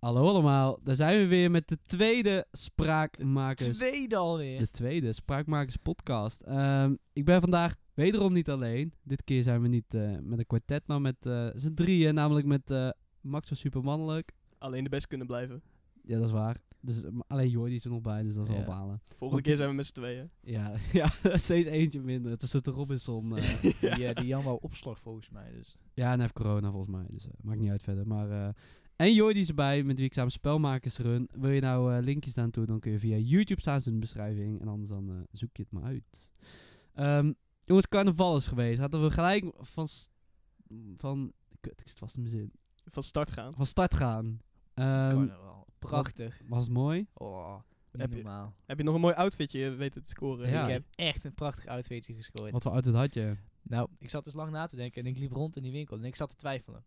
Hallo allemaal, daar zijn we weer met de tweede Spraakmakers. Tweede alweer. De tweede Spraakmakers podcast. Ehm, ik ben vandaag wederom niet alleen. Dit keer zijn we niet eh, met een kwartet, maar met eh z'n drieën. Namelijk met eh, Max van Supermannelijk. alleen de best kunnen blijven. Ja, dat is waar. Dus, eh, maar alleen Jordi is er nog bij, dus dat is Ja. al balen. Volgende Want- keer zijn we met z'n tweeën. Ja, ja, steeds eentje minder. Het is een soort Robinson. eh. Die, eh, die Jan wou opslag volgens mij. Dus. ja, en hij heeft corona volgens mij, dus eh, maakt niet uit verder. Maar, eh, en Jordi is erbij, met wie ik samen spelmakers run. Wil je nou eh, linkjes naartoe, dan kun je via YouTube staan, is in de beschrijving. En anders dan eh, zoek je het maar uit. Ehm, jongens, carnaval is geweest. Hadden we gelijk van... s- van kut, ik zit vast in mijn zin. Van start gaan. Van start gaan. Ehm, Carnaval. Prachtig. was het mooi? Oh, niet Heb je- normaal. Heb je nog een mooi outfitje weten te scoren? Ja. Ik heb echt een prachtig outfitje gescoord. Wat voor outfit had je? Nou, ik zat dus lang na te denken en ik liep rond in die winkel en ik zat te twijfelen.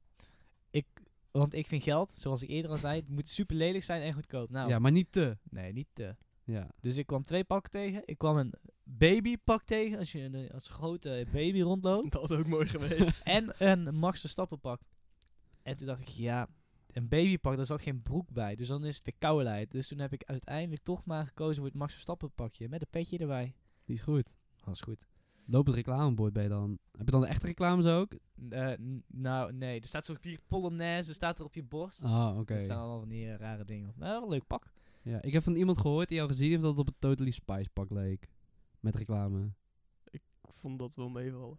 Ik, want ik vind geld, zoals ik eerder al zei, het moet super lelijk zijn en goedkoop. Nou, Ja, maar niet te. nee, niet te. Ja. Dus ik kwam twee pakken tegen. Ik kwam een babypak tegen, als je een- als een grote baby rondloopt. Dat had ook mooi geweest. en een Max Verstappen pak. En toen dacht ik, ja, een babypak, daar zat geen broek bij. Dus dan is het weer kouwelijheid. Dus toen heb ik uiteindelijk toch maar gekozen voor het Max Verstappen pakje. Met een petje erbij. Die is goed. Dat is goed. Lopend reclamebord ben je dan. Heb je dan de echte reclames ook? Eh, n- nou, nee. Er staat zo'n hier polonaise, er staat er op je borst. Ah, oké. Er staan allemaal van die eh, rare dingen op. Maar wel een leuk pak. Ja, ik heb van iemand gehoord die jou gezien heeft dat het op een Totally Spice pak leek. Met reclame. ik vond dat wel meevallen.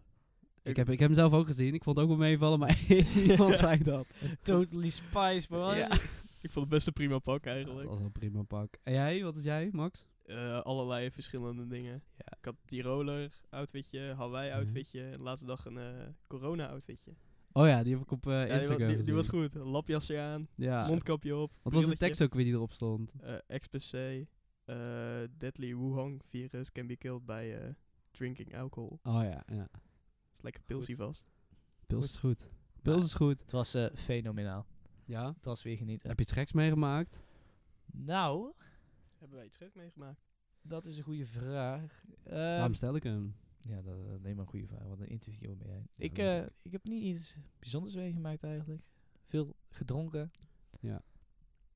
Ik heb, ik heb hem zelf ook gezien. Ik vond het ook wel meevallen, maar iemand zei dat. Totally Spice, maar wat is Ja. het? Ik vond het best een prima pak Ja, dat eigenlijk. was wel een prima pak. En jij? Wat is jij, Max? Eh, allerlei verschillende dingen. Ja. Ik had Tiroler outfitje, Hawaii outfitje. En de laatste dag een eh, corona outfitje. Oh Mhm. ja, die heb ik op eh, Ja, die, wa- Instagram die, die was gezien. goed. Lapjasje aan, Ja. mondkapje op. Wat was de brilletje. tekst ook weer die erop stond? Eh, XPC, eh, Deadly Wuhan virus can be killed by eh, drinking alcohol. Oh ja, ja. Dat is lekker pilsie vast. Pils is goed. Pils Ja. is goed. Het was eh, fenomenaal. Ja. Het was weer genieten. Heb je iets geks Ehm, meegemaakt? Nou, Hebben wij iets geks meegemaakt? dat is een goede vraag. Daarom Ehm, stel ik hem. Ja, dat is alleen maar een goede vraag. Wat een interview ben jij. Ja, ik, weet eh, ik heb niet iets bijzonders meegemaakt eigenlijk. Veel gedronken.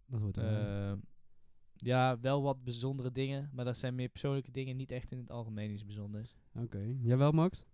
Dat hoort erbij. Eh, ja, wel wat bijzondere dingen. Maar dat zijn meer persoonlijke dingen. Niet echt in het algemeen iets bijzonders. Oké. Jij wel, Max?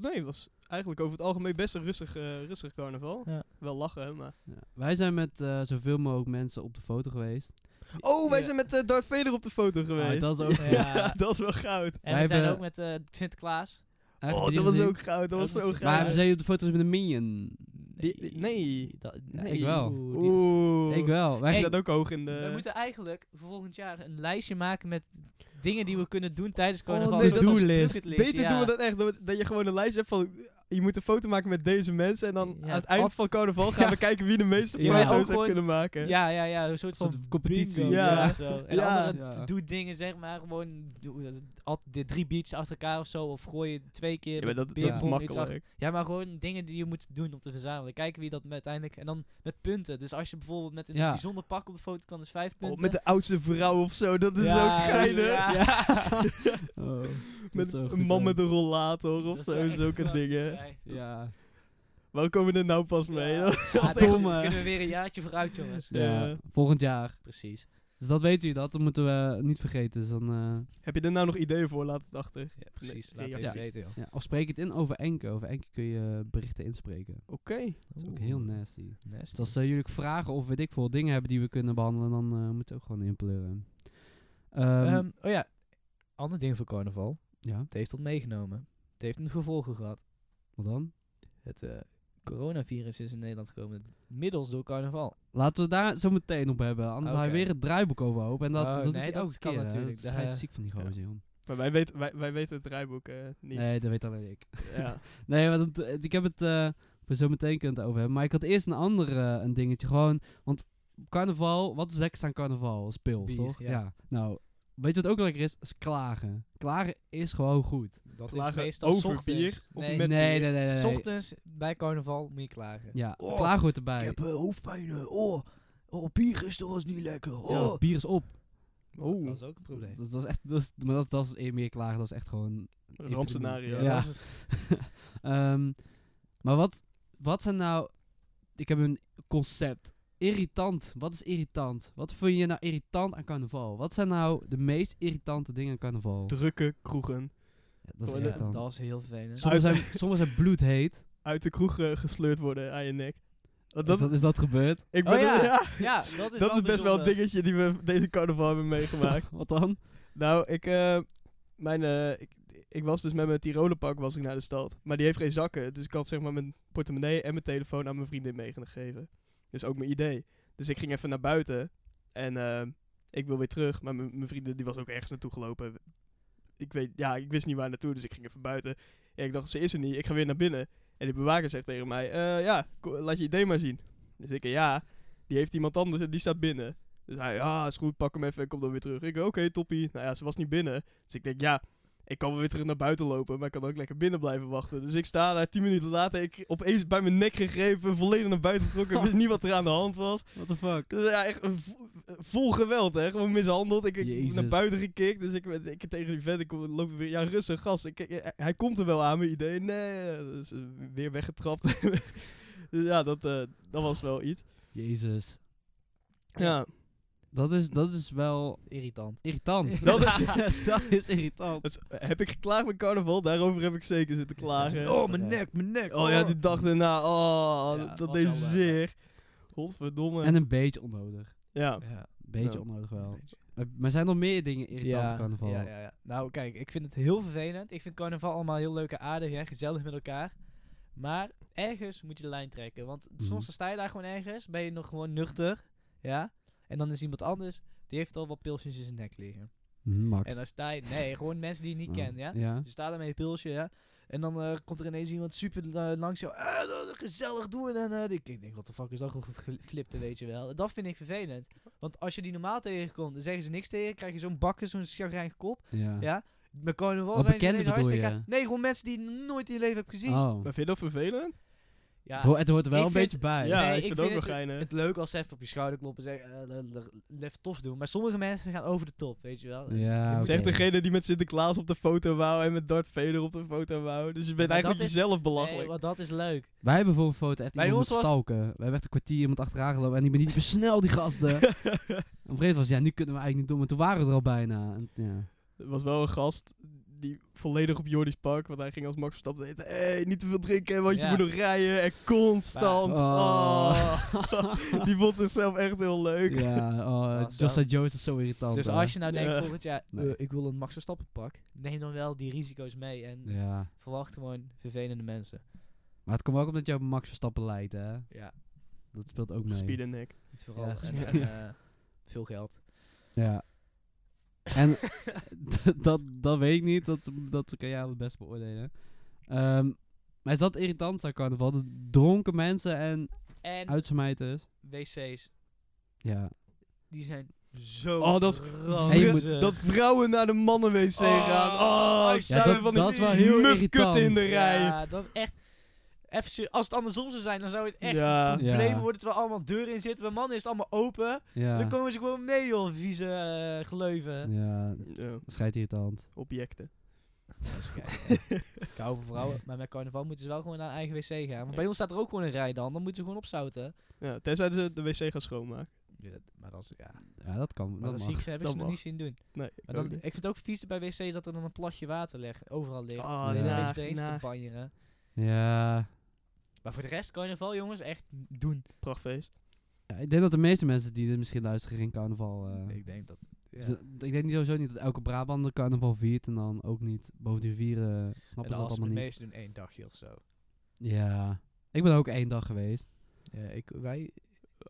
Nee, het was eigenlijk over het algemeen best een rustig, eh, rustig carnaval. Ja. Wel lachen, maar... Ja. Wij zijn met eh, zoveel mogelijk mensen op de foto geweest. Oh, wij Ja. zijn met eh, Darth Vader op de foto geweest. Ah, dat is ook Ja. goed. Ja, dat is wel goud. En Wij we zijn hebben- ook met eh, Sinterklaas. Echt, oh, heb je dat die was gezien? ook goud. Dat was Dat zo was- Maar goud. hebben zij je op de foto's met een minion? Die- die- nee. dat- ik wel. Oeh, die- Oeh. Ik wel. Wij Hij Hey. staat ook hoog in de... We moeten eigenlijk voor volgend jaar een lijstje maken met dingen die we kunnen doen tijdens Oh, carnaval. nee, Een dat is- bucketlist, Beter ja. doen we dat echt. Dat, we- dat je gewoon een lijst hebt van... eh, Je moet een foto maken met deze mensen. En dan Ja, aan het het eind ad- van carnaval gaan we kijken wie de meeste Ja. foto's Ook heeft gewoon- kunnen maken. Ja, ja, ja. Een soort Een soort van competitie. competitie. Ja. Ja. of zo. En Ja. andere Ja. doe dingen, zeg maar. Gewoon doe- al de drie beats achter elkaar of zo. Of gooi je twee keer. Ja, maar dat, met dat is beerpong iets achter- makkelijk. Ja, maar gewoon dingen die je moet doen om te verzamelen. Kijken wie dat met uiteindelijk. En dan met punten. Dus als je bijvoorbeeld met een Ja. bijzonder pak op de foto kan, is vijf punten. Oh, met de oudste vrouw of zo. Dat is Ja, ook geinig. ja. Oh, dat Met zou een goed man zijn. met een rollator of Dat zo. zou echt Zulke geweldig dingen. zijn. Ja. Waar komen we er nou pas mee? Ja. Dat is Ja, echt- dus domme. Kunnen we weer een jaartje vooruit, jongens. ja. Ja. Volgend jaar. Precies. Dus dat weten jullie, dat moeten we niet vergeten. Dus dan, eh, Heb je er nou nog ideeën voor? Laat het achter. Ja, precies. Nee, Laat ja, het precies. weten, joh. ja. Of spreek het in over Enke. Over Enke kun je berichten inspreken. Oké. Dat is ook heel nasty. Nasty. Oh. Dus als eh, jullie ook vragen of weet ik veel dingen hebben die we kunnen behandelen, dan eh, moeten we ook gewoon inpleuren. Ehm, Ehm, oh ja, ander ding voor carnaval. ja, Het heeft dat meegenomen. Het heeft een gevolgen gehad. wat dan? Het eh, coronavirus is in Nederland gekomen middels door carnaval. Laten we daar zo meteen op hebben. Anders haal je Oké. weer het draaiboek overhoop. En dat, Oh, dat doet nee, hij dat elke kan keer. hè. natuurlijk. Dat schijt Daar- ziek van die gozer, joh. Maar wij weten, wij, wij weten het draaiboek eh, niet. Nee, dat weet alleen ik. Ja. Nee, maar dat, eh, ik heb het eh we zo meteen kunnen het over hebben. Maar ik had eerst een ander eh, een dingetje. Gewoon, want carnaval, wat is lekker aan carnaval? Is pils, Bier, toch? ja. Nou, weet je wat ook lekker is? Is klagen. Klagen is gewoon goed. Dat Klagen is meestal over ochtends. bier of nee, met- nee, nee, nee, nee, nee. ochtends bij carnaval moet je klagen. Ja, Oh, klagen hoort erbij. hoofdpijn. Oh, oh, bier is toch eens niet lekker. Oh. Ja, bier is op. Oeh. Dat is ook een probleem. Dat, dat is echt, dat is, maar dat is, dat is eer meer klagen. Dat is echt gewoon... Rampscenario. Ja. dat is het. Ehm, maar wat, wat zijn nou... Ik heb een concept. Irritant. Wat is irritant? Wat vind je nou irritant aan carnaval? Wat zijn nou de meest irritante dingen aan carnaval? Drukke kroegen. Ja, dat is Ja, irritant. dat is heel vervelend. Sommigen zijn, sommigen zijn bloedheet. Uit de kroeg eh, gesleurd worden aan je nek. Dat, Want Dat, is, dat, is dat gebeurd? ik Oh ben ja. ja, ja, dat is, dat is best wel bijzonder. een dingetje die we deze carnaval hebben meegemaakt. Wat dan? Nou, ik, eh, mijn, eh, ik, ik was dus met mijn Tirolenpak was ik naar de stad. Maar die heeft geen zakken. Dus ik had zeg maar mijn portemonnee en mijn telefoon aan mijn vriendin meegegeven. Dus ook mijn idee. Dus ik ging even naar buiten. En eh, ik wil weer terug. Maar mijn mijn vriendin die was ook ergens naartoe gelopen. Ik, weet, ja, ik wist niet waar naartoe, dus ik ging even buiten. En ik dacht, ze is er niet. Ik ga weer naar binnen. En die bewaker zegt tegen mij, eh, ja, ko- laat je idee maar zien. Dus ik, ja, die heeft iemand anders en die staat binnen. Dus hij, ja, is goed, pak hem even en kom dan weer terug. Ik, oké, toppie. Nou ja, ze was niet binnen. Dus ik denk, ja, ik kan wel weer terug naar buiten lopen, maar ik kan ook lekker binnen blijven wachten. Dus ik sta daar, tien minuten later, ik opeens bij mijn nek gegrepen, volledig naar buiten getrokken. Ik wist niet wat er aan de hand was. What the fuck? Dus ja, echt eh, vo- eh, vol geweld, hè. Gewoon mishandeld. Ik, ik Jezus. naar buiten gekikt, dus ik, werd- ik tegen die vent, ik kom- loop weer, ja, rustig, gast. Ik, eh, hij komt er wel aan, mijn idee. Nee, dus eh, weer weggetrapt. dus ja, dat, eh, dat was wel iets. Jezus. Ja. Dat is, dat is wel Irritant. irritant. Dat is- dat is irritant. Dat is- eh, heb ik geklaagd met carnaval? Daarover heb ik zeker zitten klagen. Oh, mijn nek, mijn nek. Oh ja, die dag daarna. Oh, Ja, dat, dat dat was deed wel, eh, zeer. Godverdomme. En een beetje onnodig. ja. Ja, Beetje Ja. onnodig wel. Maar- Maar zijn er meer dingen irritant aan carnaval? Ja, ja, ja. Nou, kijk, ik vind het heel vervelend. Ik vind carnaval allemaal heel leuk en aardig en gezellig met elkaar. Maar ergens moet je de lijn trekken. Want Mhm. soms dan sta je daar gewoon ergens, ben je nog gewoon nuchter. Ja? En dan is iemand anders, die heeft al wat pilsjes in zijn nek liggen. Mhm, Max. En dan sta je, nee, gewoon mensen die je niet Oh. kent, ja? Ja. Je staat daar met je pilsje, ja? En dan eh, komt er ineens iemand super eh, langs jou. "Eh, dat is gezellig doen. En eh, ik denk, wat de fuck is dat gewoon geflipt, weet je wel. Dat vind ik vervelend. Want als je die normaal tegenkomt, dan zeggen ze niks tegen. Krijg je zo'n bakken, zo'n chagrijnige kop. ja. Ja? Met carnaval Wat zijn ze bekende ineens bedoel hartstikke... je? Nee, gewoon mensen die je nooit in je leven hebt gezien. Oh. Maar vind je dat vervelend? Ja, Het hoort- het hoort er wel Ik een vind- beetje bij. ja, nee, ik ik vind vind het ook wel het- geinig. Het leuk als ze even op je schouder kloppen en zeggen, eh, l- l- l- even tof doen. Maar sommige mensen gaan over de top, weet je wel. Ja, Het is oké. Zegt degene die met Sinterklaas op de foto wou en met Darth Vader op de foto wou. Dus je bent Maar eigenlijk dat is- eh, jezelf Nee, belachelijk. want dat is leuk. Wij hebben voor een foto echt Bij iemand ons moeten was- stalken. Wij hebben echt een kwartier iemand achteraan gelopen en die ben niet snel die gasten. Op een gegeven moment was ja, nu kunnen we eigenlijk niet doen, maar toen waren we er al bijna. En, ja. Er was wel een gast die volledig op Jordi's pak, want hij ging als Max Verstappen eten. Hé, hey, niet te veel drinken, want Ja. je moet nog rijden. En constant. Oh. oh. die vond zichzelf echt heel leuk. Ja, oh, Dat is Just wel- Like Joe is dat zo irritant. Dus hè. als je nou denkt Ja. volgend jaar, Nee. eh, ik wil een Max Verstappen pak, neem dan wel die risico's mee en Ja. verwacht gewoon vervelende mensen. Maar het komt ook omdat jij op Max Verstappen leidt, hè? Ja, Dat speelt ook mee. Speed en nek. vooral Ja. en, en, eh, veel geld. Ja. En dat, dat weet ik niet, dat, dat kan jij het best beoordelen. Ehm, maar is dat irritant aan carnaval? Dat dronken mensen en En uitsmijters? wc's, Ja. die zijn zo Oh, dat is En je ranzig. moet- Dat vrouwen naar de mannen-wc Oh, gaan. Oh, ja, staan er dat- van dat is wel die heel irritant. mufkutten in de rij. Ja, dat is echt... Even, ser- als het andersom zou zijn, dan zou het echt Ja. een probleem Ja. worden terwijl allemaal deuren in zitten. Bij mannen is het allemaal open. Ja. Dan komen ze gewoon mee, joh, vieze eh, geleuven. Ja, Ja, schijt irritant. objecten. Dus kijk, ik hou van vrouwen, maar met carnaval moeten ze wel gewoon naar een eigen wc gaan. Want bij ons staat er ook gewoon een rij dan, dan moeten ze gewoon opzouten. Ja, tenzij ze de wc gaan schoonmaken. maar dat is, ja. Ja, dat kan. Maar dat dat mag. zie ik ze, heb ik Dat ze nog mag. niet zien doen. Nee, Maar ik dan, ook ik niet. vind het ook vies bij wc's dat er dan een plasje water ligt, overal ligt. Oh, en dan naag, is er eens te naag. banjeren. Ja. Maar voor de rest, carnaval jongens, echt doen. Prachtfeest. Ja, Ik denk dat de meeste mensen die dit misschien luisteren geen carnaval... eh, Ik denk dat... Ja. z- Ik denk niet- sowieso niet dat elke Brabander carnaval viert en dan ook niet boven die vieren eh, En snappen ze dat als de allemaal niet. meesten doen één dagje of zo. Ja. Ik ben ook één dag geweest. Ja, ik, wij...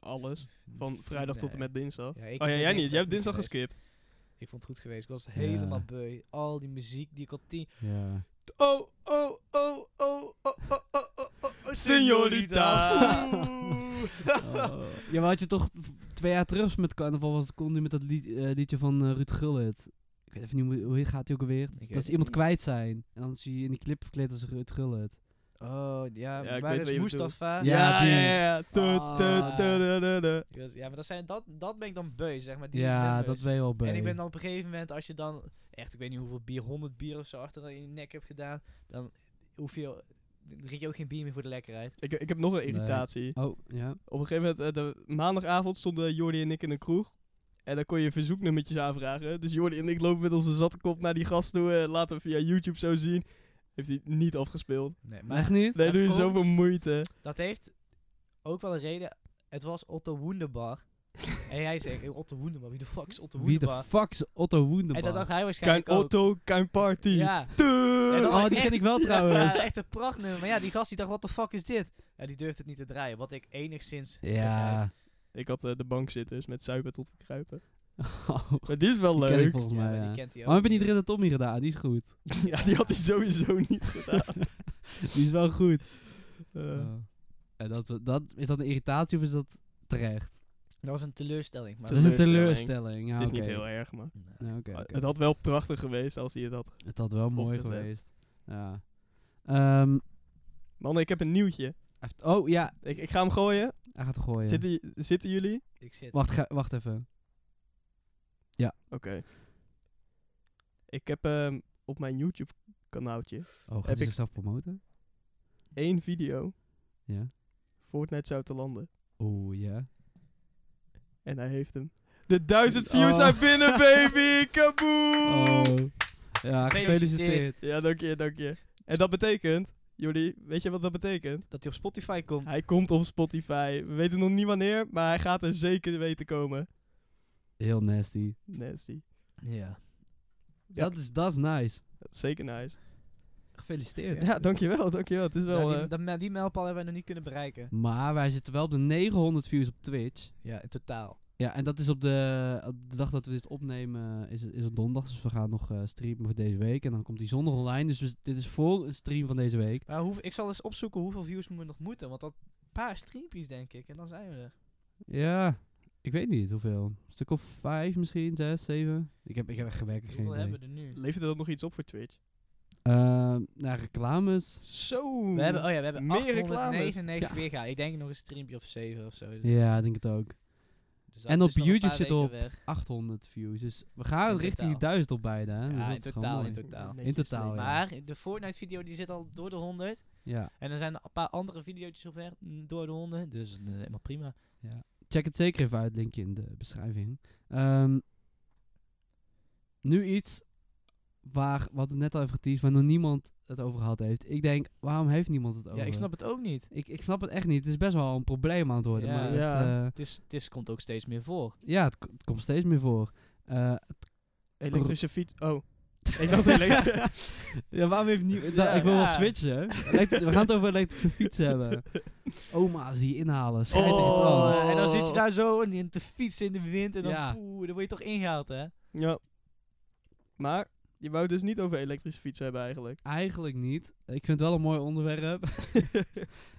Alles. Van vrijdag tot en met dinsdag. Ja, ik oh ja, ben jij niet. dinsdag Jij hebt niet dinsdag geweest. geskipt. Ik vond het goed geweest. Ik was helemaal Ja. beu. Al die muziek die ik al tien... Ja. Oh, oh, oh, oh, oh, oh, oh, oh, oh, oh, señorita. señorita. Oh. Ja, maar had je toch v- twee jaar terug met carnaval was het kon nu met dat lied- eh, liedje van eh, Ruud Gullit. Ik weet even niet hoe, hoe gaat hij ook alweer. weet dat het ze iemand niet. kwijt zijn. En dan zie je in die clip verkleed als Ruud Gullit. Oh, ja, Ja, maar ik weet dat wat is je bedoelt. Mustafa. Ja, Ja, ja, die. ja. ja. Tu, tu, Ah. tu, du, du, du. Ik was- Ja, maar dat, zijn, dat, dat ben ik dan beu, zeg maar. Die Ja, nummers. dat ben je wel bij. En ik ben dan op een gegeven moment, als je dan echt, ik weet niet hoeveel bier, 100 bier of zo achter in je nek hebt gedaan, dan hoef je dan drink je ook geen bier meer voor de lekkerheid. Ik, ik heb nog een Nee. irritatie. Oh, ja. Op een gegeven moment, eh, de maandagavond stonden Jordi en ik in een kroeg. En dan kon je verzoeknummertjes aanvragen. Dus Jordi en ik lopen met onze zatte kop naar die gast toe. eh, laten we via YouTube zo zien. Heeft hij niet afgespeeld. Nee, Echt niet? Nee, Het doe je komt- zoveel moeite. Dat heeft ook wel een reden. Het was Otto Wunderbar. en jij zegt, hey, Otto Wunderbar, wie de fuck is Otto Wie de Wunderbar? fuck is Otto Woenderbar? en dat dacht hij Kein waarschijnlijk ook. auto, kein party. Ja. Tuurlijk. En dat Oh, was die echt- ken ik wel Ja, trouwens. echt een prachtnummer. Maar ja, die gast die dacht, wat de fuck is dit? En die durfde het niet te draaien, wat ik enigszins... begrijp. Ja. Ik had eh, de bankzitters met zuipen tot kruipen. Oh, Maar die is wel die ken ik leuk. volgens Ja, mij, maar ja. die kent hij ook Waarom heb je niet Ridder Tommy gedaan? Die is goed. ja, die had hij sowieso niet gedaan. Die is wel goed. Eh, Oh. En dat, dat, is dat een irritatie of is dat terecht? Dat was een teleurstelling. Maar Dat is een Teleurstelling. teleurstelling. Ja, het is oké. niet heel erg, maar... Nee. Ja, oké, maar oké. Het had wel prachtig geweest als hij het had. Het had wel mooi opgezet. geweest. Ja. Ehm, Mannen, ik heb een nieuwtje. heeft- oh ja, Ik, ik ga hem gooien. hij gaat gooien. Zitten, j- zitten jullie? Ik zit... Wacht, ga- wacht even. Oké. Ik heb ehm, op mijn YouTube kanaaltje Oh, gaat Heb hij ik- zichzelf promoten? één video Ja. Fortnite zou te landen. Oeh, ja. En hij heeft hem. De duizend views Oh. zijn binnen, baby! Kaboom! Oh. Ja, gefeliciteerd. Ja, dank je, dank je. En dat betekent, jullie, weet je wat dat betekent? Dat hij op Spotify komt. Hij komt op Spotify. We weten nog niet wanneer, maar hij gaat er zeker weten komen. Heel nasty. Nasty. Ja. Ja. Dat, is, dat is nice. Dat is zeker nice. Gefeliciteerd. Ja, dankjewel, dankjewel. Het is wel... Ja, eh, die, dat me- die mijlpaal hebben we nog niet kunnen bereiken. Maar wij zitten wel op de 900 views op Twitch. Ja, in totaal. Ja, en dat is op de, op de dag dat we dit opnemen, is, het- is het donderdag. Dus we gaan nog eh, streamen voor deze week. En dan komt die zondag online. Dus we- dit is vol een stream van deze week. Maar hoe, ik zal eens opzoeken hoeveel views we nog moeten. Want dat paar streampjes, denk ik. En dan zijn we er. Ja, ik weet niet hoeveel. Een stuk of vijf misschien, zes, zeven. Ik heb, ik heb echt gewerkt geen Hoeveel idee. hebben we er nu? levert dat nog iets op voor Twitch? Ehm nou, reclames. Zo! We hebben, oh ja, we hebben Meer 899 reclames. weergaan. Ik denk nog een streampje of 7 of zo. Ja, ik denk het ook. Dus en dat op is nog een YouTube paar zit weken op- weg. 800 views. Dus we gaan In richting die totaal. 1000 op beide. Hè? Dus Ja, dat in is gewoon totaal, mooi. in totaal. In Oh totaal, ja. Maar de Fortnite-video die zit al door de 100. Ja. En er zijn een paar andere video's op weg mm, door de 100. Dus eh, helemaal prima. Check het zeker even uit, linkje in de beschrijving. Ehm, nu iets waar, wat het net al even geteased, waar nog niemand het over gehad heeft. Ik denk, waarom heeft niemand het over? Ja, ik snap het ook niet. ik, ik snap het echt niet. Het is best wel een probleem aan het worden. Ja. maar het, Ja. eh, Het, is, het is, komt ook steeds meer voor. ja, het, ko- het komt steeds meer voor. Eh, Elektrische fiets... Oh. ik dacht elektrisch. ja, waarom heeft niemand... Ja. ik wil wel Ja. switchen. Elektri- we gaan het over elektrische fietsen hebben. Oma's die inhalen. schijt tegen het Oh. land. eh, en dan zit je daar zo in in te fietsen in de wind. En dan, Ja. poeh, dan word je toch ingehaald, hè? Ja. Maar je wou het dus niet over elektrische fietsen hebben eigenlijk. Eigenlijk niet. Ik vind het wel een mooi onderwerp.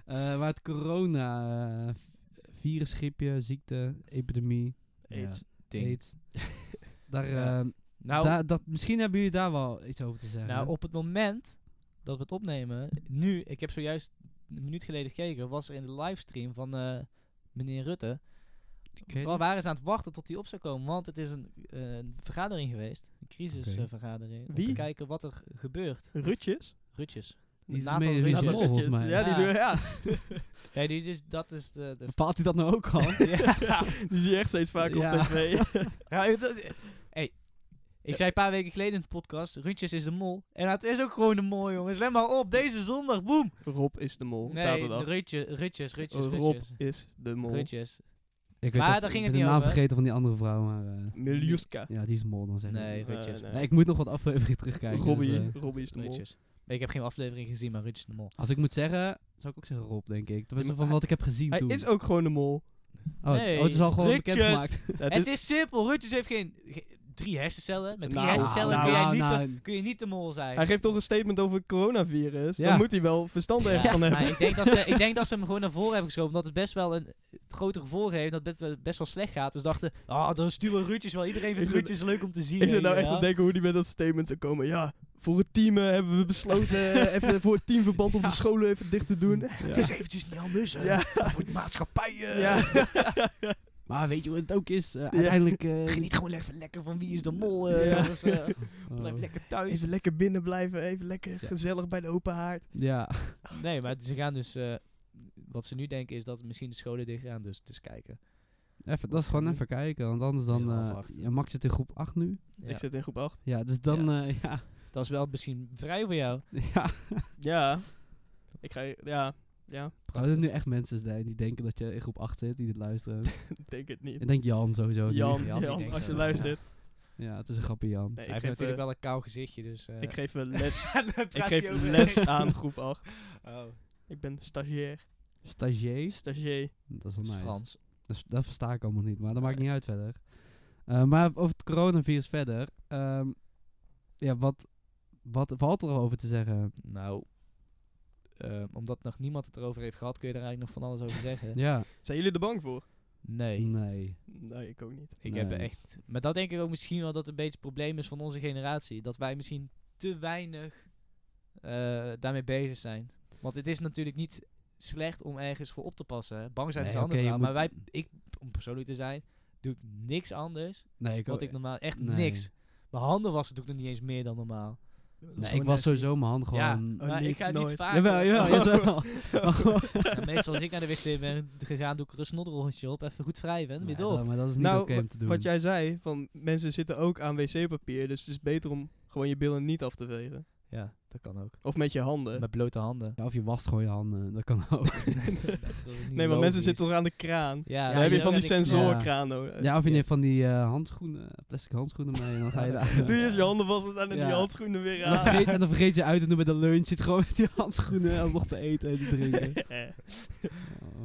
Eh maar het corona, eh, v- virusgriepje, ziekte, epidemie, Aids. aids. daar, Ja. ehm, Nou, daar- dat, misschien hebben jullie daar wel iets over te zeggen. nou, op het moment dat we het opnemen, nu, ik heb zojuist een minuut geleden gekeken, was er in de livestream van eh, meneer Rutte. Ik weet Waar niet. waren ze aan het wachten tot die op zou komen? Want het is een, eh, een vergadering geweest, een crisisvergadering. Om Wie? te kijken wat er gebeurt. Rutjes? Rutjes. Die is Nathan mee- Rutjes. Nathan Nathan Rutjes. volgens mij. Ja, die Ja. doen ja. Nee, die, dus, dat is de... de Bepaalt hij dat nou ook al? ja. Die zie je echt steeds vaker Ja. op tv. Ja, ik- dat- hey, ik zei een paar weken geleden in de podcast, Rutjes is de mol. En het is ook gewoon de mol, jongens. Let maar op, deze zondag, boem. Rob is de mol, Nee, zaterdag. Oh, Rutje, Rutjes, Rutjes, Rob Rutjes. is de mol. Rutjes. ik Maar even- daar ging ik ben het niet de naam over. vergeten van die andere vrouw, maar... eh, Miljuska. ja, die is mol dan zeg ik. Nee, Rutjes. nee. Nee, ik moet nog wat afleveringen terugkijken. dus, Robbie, eh, Robbie is de mol. Rutjes. Ik heb geen aflevering gezien, maar Rutjes de mol. als ik moet zeggen, zou ik ook zeggen Rob, denk ik. Dat is Ja, maar van wat ik heb gezien Hij toen. is ook gewoon de mol. oh, Nee, oh, het is al gewoon Rutjes. bekendgemaakt. Ja, het het is- is, simpel, Rutjes heeft geen... ge- drie hersencellen. Met drie Nou, hersencellen nou, kun, jij nou, niet nou. De, kun je niet de mol zijn. hij geeft toch een statement over coronavirus. Ja. Dan moet hij wel verstand ergens Ja, van maar hebben. ik denk, dat ze, ik denk dat ze hem gewoon naar voren hebben geschoven. Omdat het best wel een het grote gevolg heeft. Dat het best- best wel slecht gaat. Dus dachten, ah, dan sturen we Rutjes wel. Iedereen vindt Ik zit- Rutjes leuk om te zien. Ik zit weet nou je echt wel. aan het denken hoe die met dat statement zou komen. Ja, voor het team eh, hebben we besloten eh, even voor het teamverband om de scholen even dicht te doen. Het is eventjes niet anders. hè. Ja. Maar Voor de maatschappij. eh. Ja. Maar weet je wat het ook is? Eh, uiteindelijk... eh, Ga je niet gewoon even lekker van wie is de mol? eh, Ja. jongens, eh, oh. blijf lekker thuis. Even lekker binnen blijven, even lekker Ja. gezellig bij de open haard. Ja. Nee, maar ze gaan dus... eh, wat ze nu denken is dat misschien de scholen dicht gaan, dus het is kijken. Even, dat is gewoon even kijken, want anders dan... Tegen half eh, acht. ja, Max zit in groep 8 nu. Ja. Ik zit in groep 8. Ja, dus dan... eh, ja. Dat is wel misschien vrij voor jou. ja. Ja. Ik ga, ja, ja, Zouden Oh, er nu echt mensen zijn die denken dat je in groep 8 zit, die dit luisteren? ik denk het niet. Ik denk Jan sowieso. nu. Jan, Jan, Jan, die denkt als je dat- luistert. Ja, het is een grapje Jan. Nee, Hij ik heeft geef, natuurlijk eh, wel een kou gezichtje, dus... eh, ik geef eh, les, Daar ik praat hij geef over. les aan groep 8. Oh, Ik ben stagiair. Stagiair. Stagiair. Dat is wel dat is nice. Frans. Dat, is- dat versta ik allemaal niet, maar dat maakt Nee. niet uit verder. Eh, maar over het coronavirus verder. ehm, ja, wat, wat valt er over te zeggen? Nou, eh, omdat nog niemand het erover heeft gehad, kun je er eigenlijk nog van alles over zeggen. Ja. Zijn jullie er bang voor? Nee, Nee. Nee, ik ook niet. ik heb er Nee. echt... Maar dat denk ik ook misschien wel dat het een beetje het probleem is van onze generatie. Dat wij misschien te weinig eh, daarmee bezig zijn. Want het is natuurlijk niet slecht om ergens voor op te passen. hè. Bang zijn Nee, is een ander oké, je verhaal, Maar wij, moet- ik, om persoonlijk te zijn, doe ik niks anders. Nee, ik, Wat ik normaal... Echt nee. niks. Mijn handen wassen doe ik nog niet eens meer dan normaal. nee, ik was sowieso mijn hand ja, gewoon... maar Oh, niet, ik ga het nooit. niet vaak... Jawel, jawel, jawel. Ja, meestal als ik naar de wc ben gegaan, doe ik er een snodderrolletje op. Even goed vrij ben, weer Nee, door. dat- maar dat is niet Nou, oké om te doen. Wat jij zei, van mensen zitten ook aan wc-papier, dus het is beter om gewoon je billen niet af te vegen. Ja, dat kan ook. Of met je handen. Met blote handen. Ja, of je wast gewoon je handen, dat kan ook. nee, maar mensen zitten toch aan de kraan. Ja, Dan heb je van die sensor- sensorkraan nodig. ja, of je neemt van die eh, handschoenen, plastic handschoenen mee en dan ga je daar... Doe je eens je handen was het aan en Ja. die handschoenen weer En dan, aan. vergeet, en dan vergeet je uit en dan met een lunch zit gewoon met die handschoenen alsnog te eten en te drinken. Oh,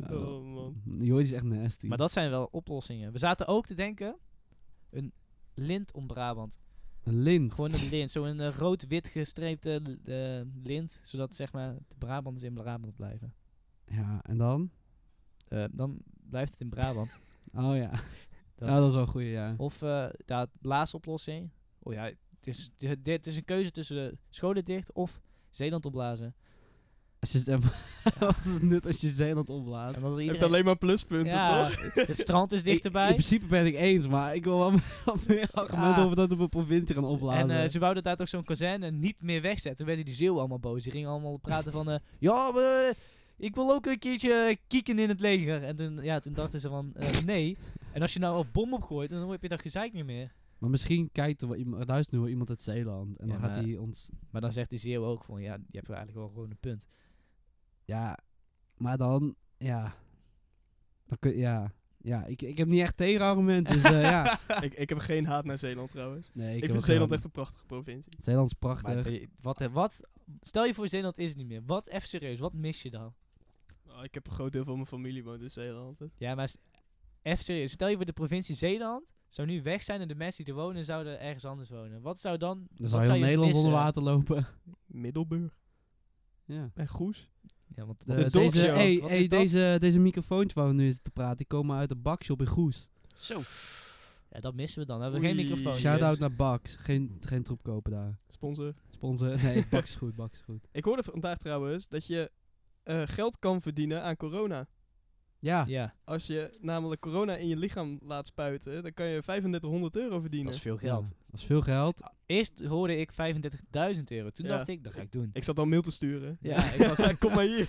nou, oh man. Jordi is echt nasty. Maar dat zijn wel oplossingen. We zaten ook te denken, een lint om Brabant. een lint. Gewoon een lint, zo'n eh, rood-wit gestreepte eh, lint. Zodat zeg maar de Brabanders in Brabant blijven. Ja, en dan? Eh, dan blijft het in Brabant. Oh ja. Dat- Ja, dat is wel een goeie, ja. Of eh de laatste oplossing. Oh ja, het is, dit, dit is een keuze tussen eh, scholen dicht of Zeeland opblazen. Als je, het- wat is het nut als je Zeeland opblaast? En dat Je hebt iedereen, alleen maar pluspunten, ja, toch? het strand is Ik- dichterbij. in principe ben ik eens, maar ik wil wel meer argumenten Ja. over dat we een provincie gaan en opblazen. eh, ze wouden daar toch zo'n kazerne niet meer wegzetten. Toen werden die zeeuwen allemaal boos. Die gingen allemaal praten van... eh, ja, we- ik wil ook een keertje kieken in het leger. En toen, ja, toen dachten ze van... eh, nee. En als je nou een bom opgooit, dan heb je dat gezeik niet meer. maar misschien kijkt er wel iemand, luistert nu wel iemand uit Zeeland en Ja, dan gaat maar- hij ons... Maar dan zegt die zeeuw ook van... Ja, je hebt eigenlijk wel gewoon een punt. Ja, maar dan, ja... Dan kun, ja, ja ik, ik heb niet echt tegenargument, dus eh, ja. ik, ik heb geen haat naar Zeeland trouwens. Ik, Nee, ik, heb vind ook Zeeland geen- echt een prachtige provincie. Zeeland is Maar prachtig. eh, wat, wat, stel je voor, Zeeland is het niet meer. Wat, even serieus, wat mis je dan? Oh, ik heb een groot deel van mijn familie woont in Zeeland. hè. Ja, maar s- even serieus, stel je voor, de provincie Zeeland zou nu weg zijn en de mensen die er wonen zouden ergens anders wonen. Wat zou dan... Dan wat zou heel je Nederland onder missen? water lopen. Middelburg Ja. en Goes. Ja, want eh, De, de dogshow. deze, hey, Wat hey, is dat? deze, deze microfoons waar we nu zitten te praten, die komen uit de bakshop in Goes. Zo. Ja, dat missen we dan. Dan hebben we Oei. geen dus. microfoon. Shout-out naar Bax. Geen, geen troep kopen daar. Sponsor. Sponsor? Nee, Bax is goed, Bax is goed. Ik hoorde vandaag trouwens dat je eh, geld kan verdienen aan corona. Ja, Ja, Als je namelijk corona in je lichaam laat spuiten, dan kan je 3500 euro verdienen. dat is veel Ja, geld. dat is veel geld. Eerst hoorde ik 35.000 euro. Toen Ja. dacht ik, dat ga ik doen. Ik zat al mail te sturen. Ja, ik was- kom maar hier.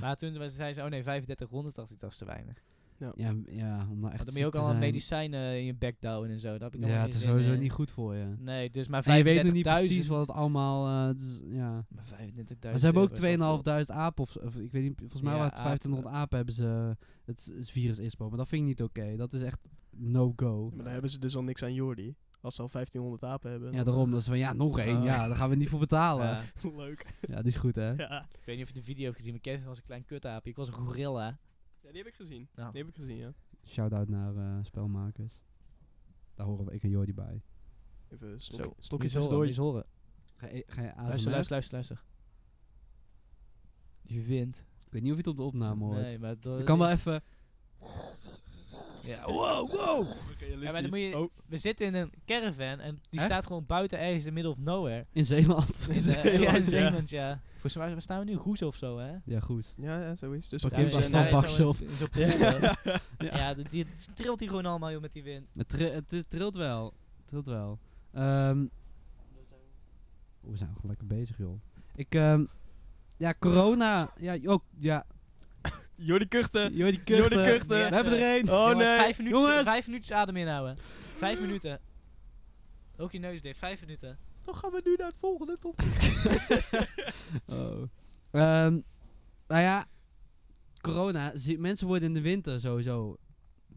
Maar toen was- zei ze, oh nee, 3500 dacht ik, dat is te weinig. Want Ja, m- ja om daar echt dan moet ziek je ook te allemaal zijn. medicijnen in je bek douwen en zo. Dat heb ik Ja, het is sowieso niet goed voor je. eh, Nee, dus maar 35.000. En je weet nog niet precies wat het allemaal... eh, het is- ja. Maar 35.000 Maar ze hebben ook euro is wel veel. 2500 apen, of, of ik weet niet, volgens mij Ja, waren het apen. 2500 apen hebben ze het, het virus ingesproken. Maar dat vind ik niet oké. Dat is echt no-go. Maar dan hebben ze dus al niks aan Jordi. Als ze al 1500 apen hebben. Ja, daarom. Dat is van, ja, nog één. Ah. Ja, daar gaan we niet voor betalen. Ja. Ja, Leuk. die is goed, hè? Ja. Ik weet niet of je de video hebt gezien, maar Kevin was een klein kutaap. Ik was een gorilla. die heb ik gezien. Nou. Die heb ik gezien, ja. Shout-out naar eh, spelmakers. Daar horen we, ik en Jordi bij. Even Zo. stok, Moet je stokjes eens horen, moet je door. eens horen. Ga je, ga je Luister, ASMR? luister, luister, luister. Je wint. Ik weet niet of Nou, je het op de opname hoort. Nee, maar dat ik kan wel even... Ja, wow, wow. Realistisch. maar dan moet je- Oh, We zitten in een caravan en die Echt? staat gewoon buiten ergens in middle of nowhere. In Zeeland. Dus, eh, Zeeland, ja, in ja. Zeeland, ja. Volgens mij waar staan we nu Goes of zo, hè? ja, goed. ja, ja, zo is het. Dus Parkeer- opeens- Parkeerplaats en van Baksel. daar is zo'n- in zo'n polder. ja, dat- die, het trilt hier gewoon allemaal joh, met die wind. Het, tri- het, is- trilt wel. Het trilt wel. Ehm, we zijn gewoon lekker bezig, joh. Ik, ehm, ja, corona. Ja, ook, ja. Jordi Kuchten. Jordi Jordi Kuchten. Eh, Kuchten. We Ja. hebben er één. Oh Jongens, nee. Vijf minuten, Jongens. vijf minuten adem inhouden. Vijf minuten. Ook je neus dicht, vijf minuten. Dan gaan we nu naar het volgende top. Oh. Ehm, nou ja, corona. zie- mensen worden in de winter sowieso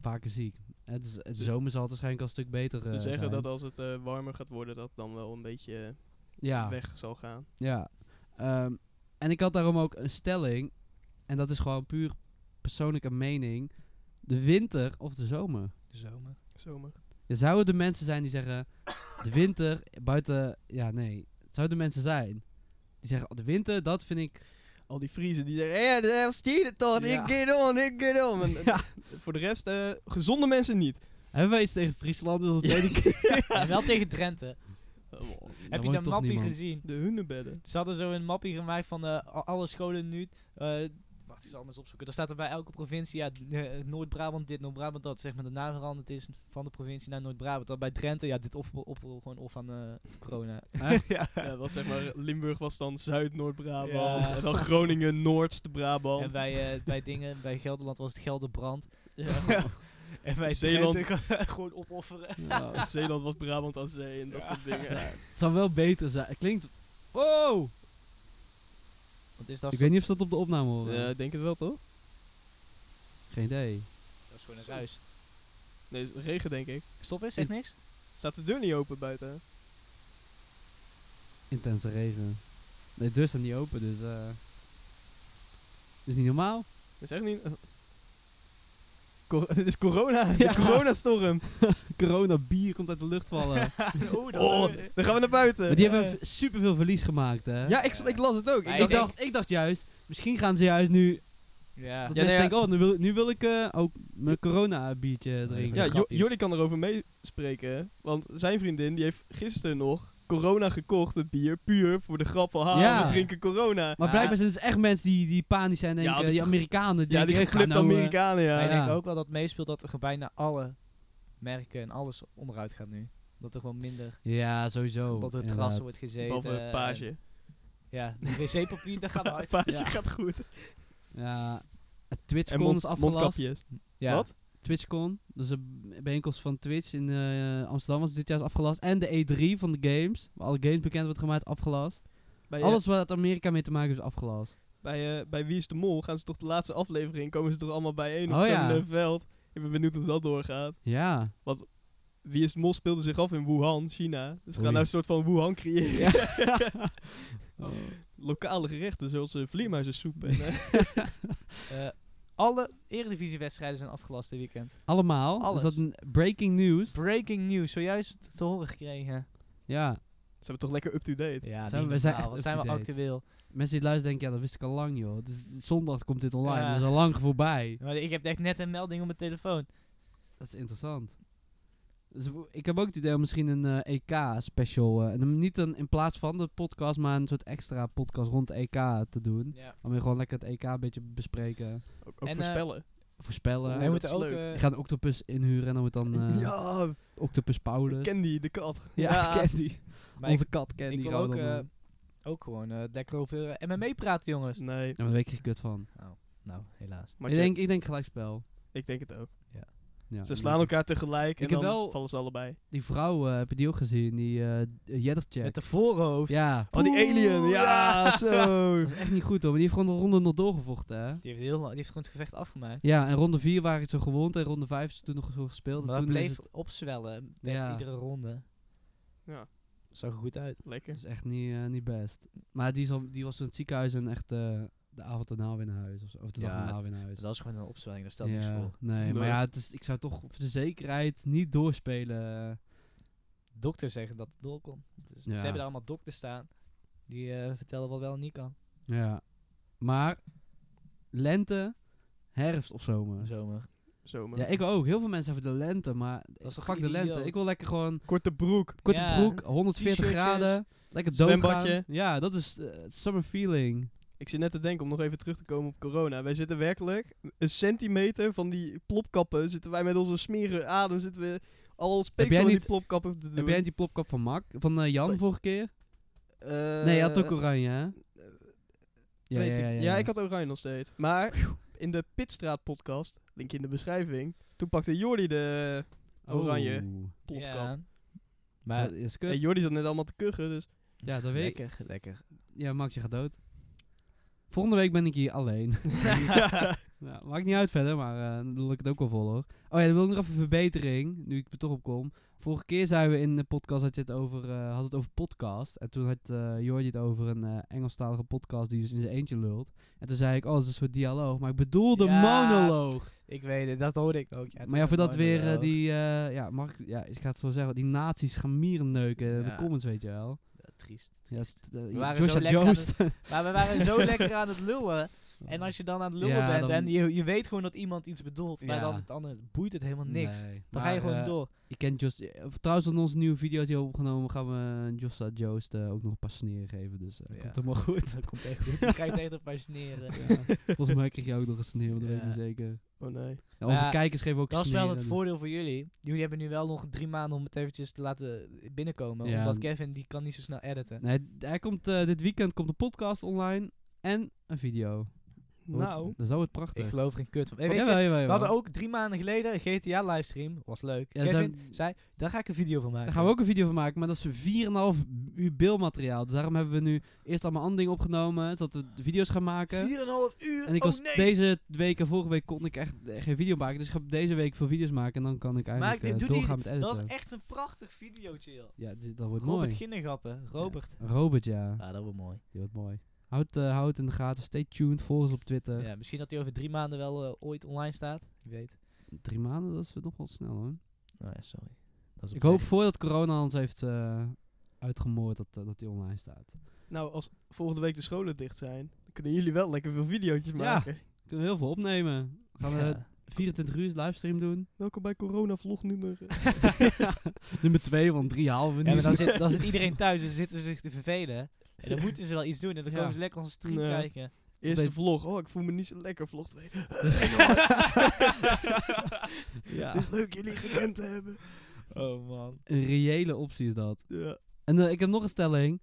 vaker ziek. Het, is, het Ze- zomer zal het waarschijnlijk al een stuk beter eh, Ze zeggen zijn. dat als het eh, warmer gaat worden, dat het dan wel een beetje eh, ja. weg zal gaan. Ja. Ehm, en ik had daarom ook een stelling. En dat is gewoon puur persoonlijke mening. De winter of de zomer. De zomer. Zomer. Ja, zouden er mensen zijn die zeggen... De winter buiten... Ja, nee. Het zouden mensen zijn. Die zeggen, oh, de winter, dat vind ik... Al die Friesen die zeggen, ja, de stier tot, Ja. ik get on, ik get on. En, eh, Voor de rest, eh, gezonde mensen niet. Hebben wij iets tegen Friesland? Dat is de tweede keer. En wel tegen Drenthe. Heb je woont dat toch mappie niemand? gezien? Oh, De hunnebedden. Ze hadden zo een mappie gemaakt van eh, a- alle scholen nu. eh, wacht, ik zal hem eens opzoeken. Daar staat er bij elke provincie, ja, d- eh, Noord-Brabant dit, Noord-Brabant dat. Zeg maar de naam veranderd is van de provincie naar Noord-Brabant. Dan bij Drenthe, ja, dit op, op, gewoon of aan eh, corona. ja. Ja, dat was zeg maar, Limburg was dan Zuid-Noord-Brabant. Ja. En dan Groningen, Noordst-Brabant. En bij, eh, bij dingen, bij Gelderland was het Gelderbrand. Ja. En bij Zeeland. Drenthe gewoon opofferen. Ja, Zeeland was Brabant aan zee en dat soort dingen. Het zou wel beter zijn. Het klinkt... Wow! Want is dat, Ik zo- weet niet of ze dat op de opname horen. Ja, ik denk het wel, toch? Geen idee. dat is gewoon een ruis. Nee, is regen denk ik. Stop eens, zeg niks. Staat de deur niet open buiten? Intense regen. Nee, de deur staat niet open, dus... eh is niet normaal. Dat is echt niet... Cor- dit is corona. De coronastorm. corona bier komt uit de lucht vallen. Eh, Oeh, dat- Oh, dan gaan we naar buiten. maar die hebben v- superveel verlies gemaakt, hè? Ja, ik, ik las het ook. Maar Ik Ik dacht, denk- dacht, ik dacht juist, misschien gaan ze juist nu. Ja. Dat Ja, mensen nee, ja. denken, oh, nu wil, nu wil ik eh, ook mijn corona biertje drinken. Ja, Ja, Jo- grapjes. Jordi kan erover meespreken. hè. Want zijn vriendin die heeft gisteren nog corona gekocht, het bier, puur voor de grap van ha, Ja. we drinken corona. Maar Ah. blijkbaar zijn het dus echt mensen die, die panisch zijn. En Ja, denken, die die ge- Amerikanen. Die ja, die denken, ik ga geknipt nou, eh, Amerikanen, ja. Maar ik ja. denk ook wel dat meespeelt dat er gewoon bijna alle merken en alles onderuit gaat nu. Dat er gewoon minder ja, sowieso. op de inderdaad. terrassen wordt gezeten. Behalve en- Paasje. Ja, de wc-papier, dat gaat eh, uit. Paasje Ja. gaat goed. Ja, het En TwitchCon is mond, afgelast. mondkapjes. Ja. Wat? TwitchCon, dus een bijeenkomst van Twitch in eh, Amsterdam was dit jaar is afgelast. En de E3 van de games, waar alle games bekend wordt gemaakt, afgelast. Bij, eh, Alles wat Amerika mee te maken heeft, is afgelast. bij, eh, bij Wie is de Mol gaan ze toch de laatste aflevering, komen ze toch allemaal bijeen op Oh, zo'n ja. eh, veld. Ik ben benieuwd hoe dat doorgaat. Ja. Wie is de Mol speelde zich af in Wuhan, China. Dus ze Oei. gaan nou een soort van Wuhan creëren. Ja. Oh. Lokale gerechten, zoals eh, vleermuizensoep. En, eh, Eh, alle eredivisiewedstrijden zijn afgelast dit weekend. Allemaal. Alles. Is dat een breaking news? Breaking news, zojuist te horen gekregen. ja. ze hebben toch lekker up-to-date. Ja, Zijn niet we- we zijn normaal. echt Wat zijn we up-to-date. actueel. Mensen die luisteren denken, ja, dat wist ik al lang, joh. Het is- zondag komt dit online, Ja. dat is al lang voorbij. Maar ik heb echt net een melding op mijn telefoon. Dat is interessant. Dus w- ik heb ook het idee om misschien een eh, E EK-special, en dan niet eh, een, in plaats van de podcast, maar een soort extra podcast rond de EK te doen. Ja. Om weer gewoon lekker het EK een beetje bespreken, Ook, En, ook eh, voorspellen. voorspellen. we dat moeten is ook... leuk. eh, Ik ga een octopus inhuren en dan wordt dan eh, ja, octopus Paulus. Candy, de kat. ja, Candy. maar Onze kat ik, Candy. ik wil gaan we ook, dan eh, doen. ook gewoon eh, lekker over eh, MMA praten, jongens. Nee, Ja, maar daar weet ik geen kut van. Nou, helaas. maar ik, je- denk, ik denk gelijkspel. ik denk het ook. Ja, Ze slaan elkaar tegelijk en Ik heb dan wel- vallen ze allebei. Die vrouw eh heb je die ook gezien, die eh Jedder Met check. de voorhoofd. Ja, Oh, die alien, ja, zo. dat is echt niet goed hoor. Maar die heeft gewoon de ronde nog doorgevochten, hè? Die heeft, heel lang, die heeft gewoon het gevecht afgemaakt. Ja, en ronde 4 waren het zo gewond en ronde 5 is toen nog zo gespeeld. En Maar het toen bleef is het, opzwellen met Ja. iedere ronde. Ja, Zag er goed uit. lekker. dat is echt niet, eh, niet best. Maar die, is al, die was in het ziekenhuis en echt eh, de avond daarna weer naar huis. Of, zo, of de dag Ja, daarna weer naar huis. Dus dat is gewoon een opzwelling, daar stelt niks ja, voor. nee, maar Nee. ja, het is, ik zou toch voor de zekerheid niet doorspelen. eh, Dokters zeggen dat het door kon. Ja. Dus Ze hebben daar allemaal dokters staan. Die eh, vertellen wat wel en niet kan. Ja. Maar lente, herfst of zomer. Zomer. zomer. Ja, ik ook. Heel veel mensen hebben de lente, maar is toch fuck de idioot? lente. Ik wil lekker gewoon Korte broek. korte Ja. broek, 140 T-shirtjes, graden, lekker doodgaan. zwembadje. Ja, dat is eh, het summer feeling. Ik zit net te denken om nog even terug te komen op corona. Wij zitten werkelijk een centimeter van die plopkappen. Zitten wij met onze smerige adem. Zitten we al speeksel jij in die niet- plopkappen te doen. Heb jij niet die plopkap van Mak, van eh, Jan Wat? vorige keer? Eh, nee, je had ook oranje, hè? Ja, weet ik. ja, ik had oranje nog steeds. Maar in de Pitstraat podcast, linkje in de beschrijving, toen pakte Jordi de oranje Oeh. plopkap. Ja. Oh. Ja, Maar dat is En kut. Jordi zat net allemaal te kuchen, dus Ja, dat weet ik. lekker, lekker. Ja, Max, je gaat dood. Volgende week ben ik hier alleen. Ja, maakt niet uit verder, maar eh, dan wil ik het ook wel vol hoor. Oh ja, dan wil ik nog even een verbetering, nu ik er toch op kom. Vorige keer zeiden we in de podcast, had je het over, eh, had het over podcast. En toen had eh Jordi het over een eh, Engelstalige podcast die dus in zijn eentje lult. En toen zei ik, oh, dat is een soort dialoog. Maar ik bedoel de Ja. monoloog. Ik weet het, dat hoorde ik ook. Ja, maar ja, voor dat weer eh, monoloog. die, eh, ja, mag ik, ja, ik ga het zo zeggen, die nazi's gaan mieren neuken in de Ja. comments, weet je wel. Ja, triest. Ja, dat is- eh, waren zo Joshua lekker aan Joost. Maar we waren zo lekker aan het lullen. En als je dan aan het lullen Ja, bent dan- en je, je weet gewoon dat iemand iets bedoelt, maar Ja. dan het andere boeit het helemaal niks. Nee, Dan ga je maar, gewoon eh, door. Je kent Jos. eh, Trouwens, in onze nieuwe video die we hebben opgenomen, gaan we Josta Joost eh, ook nog een paar sneren geven. Dus eh, Ja. komt helemaal goed. Dat komt echt goed. Je krijgt echt een paar sneren. Volgens mij krijg je ook nog een sneer, want dat weet ik Ja. niet zeker. oh nee. Ja, onze Ja, kijkers geven ook Dat is wel sneren, het dus- voordeel voor jullie. Jullie hebben nu wel nog drie maanden om het eventjes te laten binnenkomen. Ja. Omdat Kevin, die kan niet zo snel editen. Nee, d- hij komt, eh, dit weekend komt de podcast online en een video. Wordt- Nou, Dan zou het prachtig. Ik geloof er geen kut van. Hey, Ja, weet je, jawel, jawel, we jawel. hadden ook drie maanden geleden een GTA livestream. Was leuk. Ja, Kevin zijn- zei, daar ga ik een video van maken. Daar gaan we ook een video van maken, maar dat is 4,5 uur beeldmateriaal. Dus daarom hebben we nu eerst allemaal andere dingen opgenomen, zodat we de video's gaan maken. 4,5 uur. En ik oh was nee. deze week en vorige week kon ik echt eh, geen video maken. Dus ik ga deze week veel video's maken en dan kan ik eigenlijk ik eh, doe die- doorgaan met editen. Dat is echt een prachtig video, chill. ja, dit- dat wordt Robert mooi. Ginnergappen. Robert. Robert, ja. Ah, dat wordt mooi. Die wordt mooi. Houd, eh, houd het in de gaten. Stay tuned. Volg ons op Twitter. Ja, misschien dat hij over drie maanden wel eh, ooit online staat. Wie weet. Drie maanden, dat is nog wel snel hoor. Nou ja, sorry. Dat is Ik oké. hoop voordat corona ons heeft eh, uitgemoord dat, eh, dat die online staat. nou, als volgende week de scholen dicht zijn, dan kunnen jullie wel lekker veel video's maken. Kunnen we heel veel opnemen. Gaan we Ja. 24 uur livestream doen. Welkom bij corona vlog nummer... eh, Nummer 2 van 3,5 uur. Ja, maar dan zit, dan zit iedereen thuis en zitten ze zich te vervelen. En dan moeten ze wel iets doen en dan Ja. komen ze lekker onze stream Nee. kijken. Eerste Opeens- vlog. Oh, ik voel me niet zo lekker. Vlog 2. Ja. Het is leuk jullie gekend te hebben. Oh man. Een reële optie is dat. Ja. En eh, ik heb nog een stelling.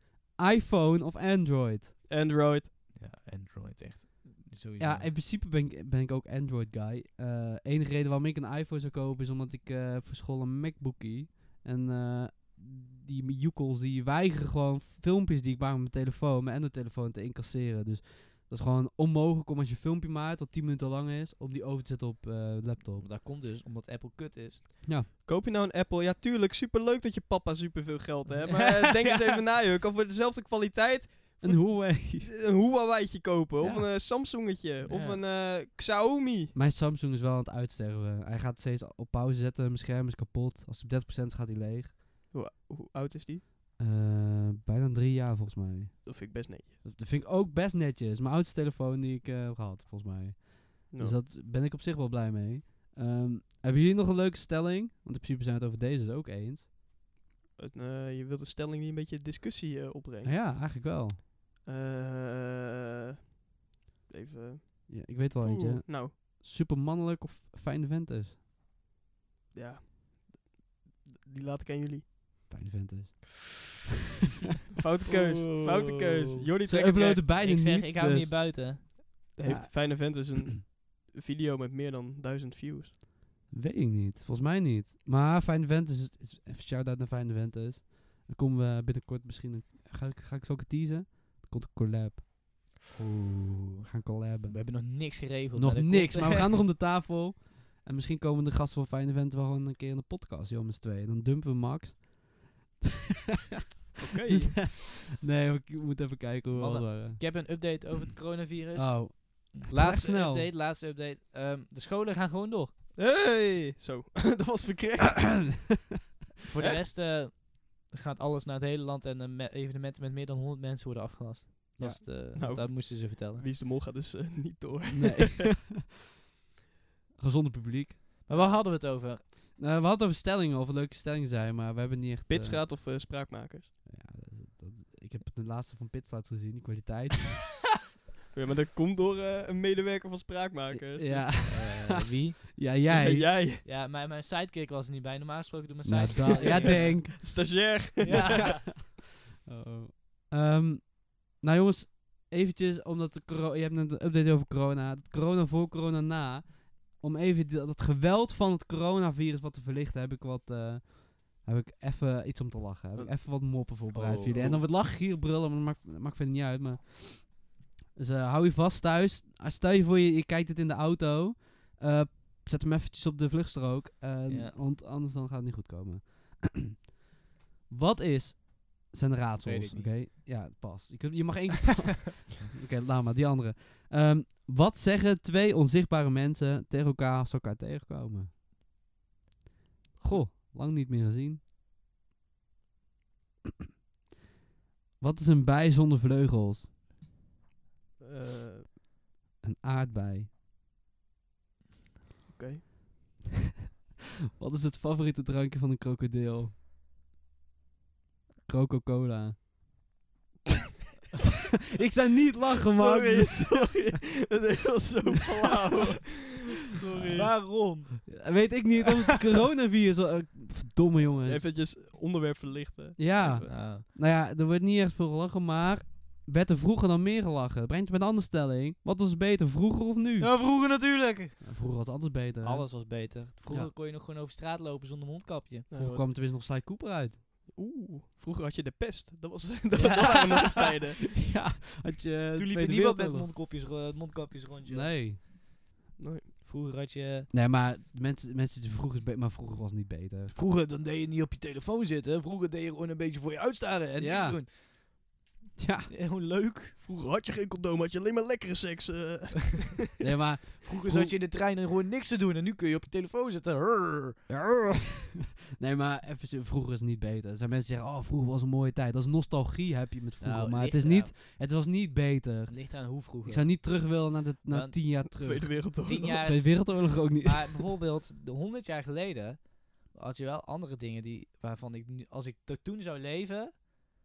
iPhone of Android? Android. Ja, Android echt. Sowieso. Ja, in principe ben ik, ben ik ook Android guy. Eh enige reden waarom ik een iPhone zou kopen is omdat ik eh voor school een MacBookie. En eh, die joekels die weigeren gewoon filmpjes die ik maak met mijn telefoon, mijn Android telefoon te incasseren. Dus dat is gewoon onmogelijk om als je een filmpje maakt dat 10 minuten lang is, om die over te zetten op eh, laptop. dat komt dus omdat Apple kut is. Koop je nou een Apple? Ja, tuurlijk. Superleuk dat je papa superveel geld hebt. Maar eh, denk eens even na, joh. Ik kan voor dezelfde kwaliteit Een Huawei. een Huawei'tje kopen. Of Ja. een eh, Samsungetje. Of Ja. een eh, Xiaomi. Mijn Samsung is wel aan het uitsterven. Hij gaat steeds op pauze zetten, mijn scherm is kapot. Als het op 30% is, gaat hij leeg. Hoe, hoe oud is die? Eh, bijna drie jaar volgens mij. Dat vind ik best netjes. Dat dat vind ik ook best netjes. Mijn oudste telefoon die ik eh, heb gehad, volgens mij. No. Dus dat ben ik op zich wel blij mee. Ehm, hebben jullie nog een leuke stelling? Want in principe zijn we het over deze dus ook eens. Een, eh, je wilt een stelling die een beetje discussie eh, opbrengt. Ah, Ja, eigenlijk wel. Eh, even... Ja, ik weet wel eentje. Oeh, Nou, Supermannelijk of fijne venters? ja. Die laat ik aan jullie. Fijne venters. eh, Foute keus. Foute keus. Jordi Ze Trekker uploaden beide ik zeg, niet. ik hou dus niet buiten. heeft Fijne Ventus een video met meer dan duizend views. Weet ik niet. Volgens mij niet. Maar Fijne Venters, is- is- even shout-out naar Fijne Venters. Dan komen we binnenkort misschien... Een, ga, ik- ga ik zo ook teasen? Er komt een collab. We gaan collaben. We hebben nog niks geregeld. Nog dat niks, komt- maar we gaan nog om de tafel. En misschien komen de gasten van Fijne Vent wel gewoon een keer in de podcast, joh, met z'n tweeën. Dan dumpen we Max. Oké. nee, we, k- we moeten even kijken hoe we Mannen. waren. Ik heb een update over het coronavirus. Oh, laatste snel. update, laatste update. Ehm, de scholen gaan gewoon door. Hey! Zo, dat was verkeerd. Voor de rest eh, gaat alles naar het hele land en eh, me- evenementen met meer dan 100 mensen worden afgelast. Ja. Dat, is het, eh, Nou. dat moesten ze vertellen. Wie is de mol gaat dus eh, niet door. nee. Gezonde publiek. Maar waar hadden we het over? Nou, we hadden over stellingen, of er leuke stellingen zijn, maar we hebben niet echt... eh, Pitsraad of eh, spraakmakers? ja, dat, dat- ik heb de laatste van Pitstraat gezien, die kwaliteit. Ja, maar dat komt door eh, een medewerker van spraakmakers. ja, Eh, wie? ja, Ja, jij. jij. Ja, mijn, mijn sidekick was er niet bij. Normaal gesproken doet mijn Nou, sidekick. da- ja, denk. Stagiair. Ja. Uh-oh. Oh, Ehm, nou jongens, eventjes, omdat de coro- je hebt net een update over corona. Het corona voor, corona na. Om even dat, dat geweld van het coronavirus wat te verlichten, heb ik wat... eh, heb ik even iets om te lachen. Heb ik even wat moppen voorbereid Oh, voor jullie. En goed. dan wat lachen hier brullen, maar dat maakt, dat maakt verder niet uit. Maar... Dus eh, hou je vast thuis. Ah, Stel je voor, je, je kijkt het in de auto. Eh, zet hem eventjes op de vluchtstrook. eh, Ja. Want anders dan gaat het niet goed komen. Wat is... zijn de Weet ik raadsels, oké? niet. Ja, pas. Je, kunt, je mag één keer... oké, laat maar, die andere. Ehm, wat zeggen twee onzichtbare mensen tegen elkaar als ze elkaar tegenkomen? Goh, lang niet meer gezien. wat is een bij zonder vleugels? Eh, Oké. Een aardbei. Wat is het favoriete drankje van een krokodil? Croco-cola. ik sta niet lachen, man. Sorry, sorry. Het was zo flauw. Sorry. Waarom? Weet ik niet, om het coronavirus... al- eh, Verdomme jongens. Eventjes onderwerp verlichten. Ja, Nou, nou ja, er wordt niet echt veel gelachen, maar... Werd er vroeger dan meer gelachen? Dat Brengt je met een andere stelling. Wat was beter, vroeger of nu? Ja, vroeger natuurlijk. Ja, Vroeger was alles beter. hè? Alles was beter. Vroeger Ja. kon je nog gewoon over straat lopen zonder mondkapje. Vroeger kwam tenminste nog Sly Cooper uit. Oeh, vroeger had je de pest. Dat was dat, dat waren nog eens tijden. ja, had je... eh, Toen liep je Tweede niemand met Wereldoorlog. mondkapjes, ro- eh, mondkapjes rondje. Nee. Vroeger had je... Nee, maar mensen, mensen die vroeger is be- maar vroeger was het niet beter. Vroeger dan deed je niet op je telefoon zitten. Vroeger deed je gewoon een beetje voor je uitstaren en Ja. niks doen. Ja. Heel leuk. Vroeger had je geen condoom, had je alleen maar lekkere seks. eh. Nee, maar... Vroeger zat je in de trein en gewoon niks te doen. En nu kun je op je telefoon zitten. Rrr. nee, maar even, zo- vroeger is het niet beter. Er zijn mensen die zeggen, oh, vroeger was een mooie tijd. Dat is nostalgie heb je met vroeger. Nou, maar het, is ligt niet, het was niet beter. Het ligt aan hoe vroeger. Ik zou niet terug willen naar, de, naar Want tien jaar terug. Tweede Wereldoorlog. Tien jaar Tweede is- Wereldoorlog ook niet. Maar bijvoorbeeld, de 100 jaar geleden had je wel andere dingen die, waarvan ik nu, als ik dat toen zou leven,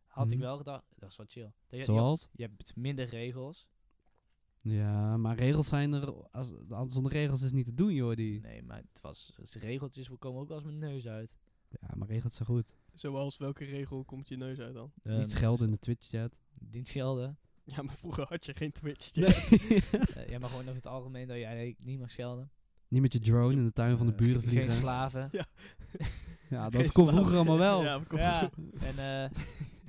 had ik Mhm. wel gedacht, dat is wel chill. Dat je, je, Zoals? je hebt minder regels. Ja, maar regels zijn er... Als, anders zonder regels is niet te doen, joh. Die. Nee, maar het was, dus regeltjes komen ook als mijn neus uit. Ja, maar regels zijn goed. Zoals welke regel komt je neus uit dan? niet schelden in de Twitch-chat. Ehm, Niet schelden. Ja, maar vroeger had je geen Twitch. Eh, ja, maar gewoon over het algemeen dat jij niet mag schelden. niet met je drone in de tuin van de Eh, buren ge- Geen vliegen. slaven. Ja, dat Geen kon slaap. vroeger allemaal wel. Ja, we komen Ja. En eh,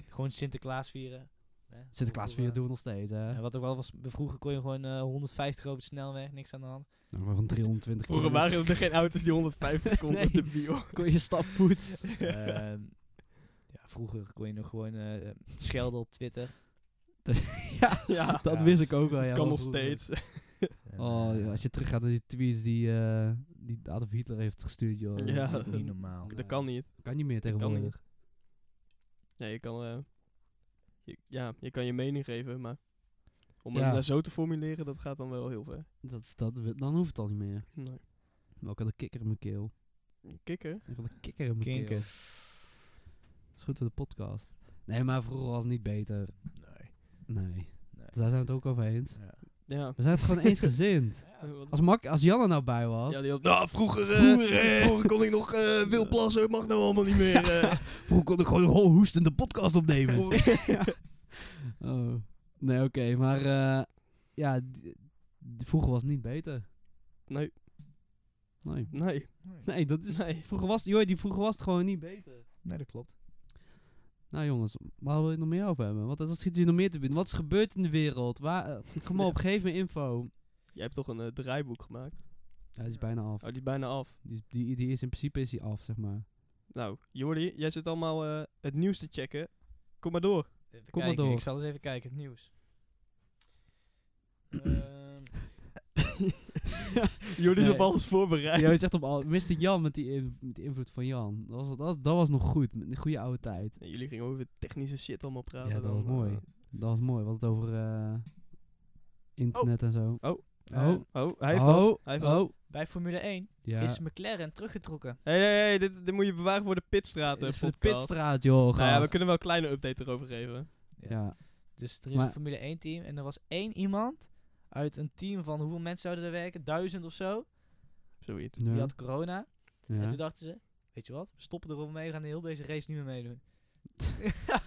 gewoon Sinterklaas vieren. Eh, Sinterklaas vroeger, vieren doen we nog steeds, hè. Nou, eh, En wat ook wel was, vroeger kon je gewoon eh, 150 over de snelweg, niks aan de hand. Nou, maar van 320 Vroeger kilometer. waren er geen auto's die 150 konden Nee. op de bio. Kon je stapvoets. Ehm, ja, vroeger kon je nog gewoon eh, schelden op Twitter. ja, Ja, dat Ja. wist ik ook wel. het ja, kan wel nog vroeger. steeds. En, Oh, eh, joh, als je teruggaat naar die tweets die, eh, die Adolf Hitler heeft gestuurd, joh. Ja. Dat dat is niet normaal. Nee. Dat kan niet. kan niet meer kan tegenwoordig. niet. Ja, je kan, eh, je, ja, je kan je mening geven, maar om Ja. het nou zo te formuleren, dat gaat dan wel heel ver. Dat, is- dat, we- dan hoeft het al niet meer. Nee. Maar ik had een kikker in mijn keel. Kikker? Ik had een kikker in mijn Kinken. keel. Dat is goed voor de podcast. Nee, maar vroeger was het niet beter. Nee. Nee. Nee. Dus daar zijn we het ook over eens. Ja. Ja. We zijn het gewoon eensgezind. Eh, wat- Als, Mak als Jan er nou bij was... Ja, die had, nou, vroeger, eh, Vroeger, eh." vroeger kon ik nog eh wild plassen, mag nou allemaal niet meer. eh. Vroeger kon ik gewoon hol hoestende podcast opnemen. Vroeger- Oh. Nee, oké, maar eh, ja, d- d- vroeger was het niet beter. nee, Nee, nee. nee dat is. Nee. Vroeger was, joh, die vroeger was het gewoon niet beter. Nee, dat klopt. Nou jongens, waar wil je het nog meer over hebben? Wat, wat schiet u nog meer te binnen? Wat is er gebeurd in de wereld? Waar, eh, kom op, geef me info. Jij hebt toch een eh, draaiboek gemaakt? Ja, die is bijna af. Oh, die is bijna af. Die, is- die, die is in principe is die af, zeg maar. Nou, Jordi, jij zit allemaal eh, het nieuws te checken. Kom maar door. Even Kom maar kijken, door. Ik zal eens even kijken, het nieuws. Ehm, Jordi is Nee. op alles voorbereid. Ja, het is echt op al. Mr. Jan met die, in- met die invloed van Jan. Dat was, dat, was, dat was nog goed, met de goede oude tijd. En jullie gingen over technische shit allemaal praten. Ja, dat dan, was mooi. eh. Dat was mooi, wat het over eh, internet en zo. Oh. Eh, Oh. Oh, hij heeft oh, wat. Hij heeft wat. oh. Bij Formule 1 Ja. is McLaren teruggetrokken. Hey, nee, nee, dit, dit moet je bewaren voor de pitstraten. Voor de podcast. pitstraat, joh, Nou ja, we gast. kunnen wel een kleine update erover geven. Ja. Dus er is Maar- een Formule 1 team en er was één iemand uit een team van hoeveel mensen zouden er werken? Duizend of zo. Zoiets. Ja. Die had corona. En Ja. toen dachten ze, weet je wat, we stoppen erop mee, we gaan heel deze race niet meer meedoen. Ja.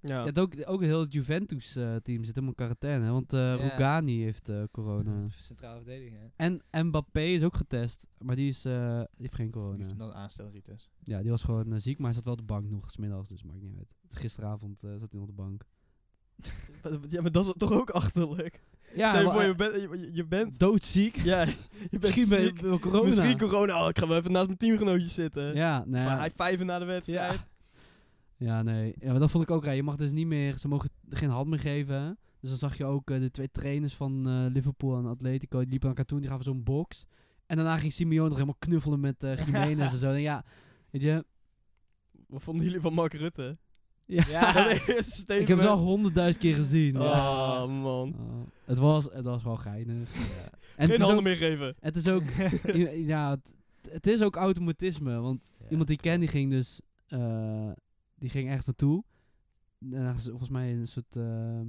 Ja, het ook, ook heel het Juventus-team zit helemaal in quarantaine. hè, Want eh Rugani heeft eh, corona. Centrale verdediging, hè. En Mbappé is ook getest. Maar die, is, eh, die heeft geen Die corona. heeft dan aanstellen, Rites. Ja, die was gewoon eh, ziek. Maar hij zat wel op de bank nog, smiddags. Dus maakt niet uit. Gisteravond eh, zat hij nog op de bank. ja, maar dat is toch ook achterlijk? Ja, Stel je maar, voor, eh, je bent... Je, je- je bent doodziek. ja, je bent Misschien ben je ziek. wel corona. Misschien corona. Oh, ik ga wel even naast mijn teamgenootjes zitten. Ja, nee. Maar Hij vijven na de wedstrijd. Ja. Ja, nee. Ja, maar dat vond ik ook raar. Je mag dus niet meer... Ze mogen geen hand meer geven. hè. Dus dan zag je ook eh, de twee trainers van eh, Liverpool en Atletico. Die liepen aan elkaar toe. en Die gaven zo'n box. En daarna ging Simeone nog helemaal knuffelen met eh Jiménez en zo. En ja, weet je... Wat vonden jullie van Mark Rutte? Ja. Ja. Dat eerste statement. Ik heb het al honderdduizend keer gezien. Oh, Ja. man. Oh, het, was, het was wel geinig. En Geen het, is handen ook, meer geven. het is ook... ja, het, het is ook automatisme. Want Iemand die ik ken, die ging dus... eh, die ging ergens naartoe. En ergens, volgens mij een soort... eh,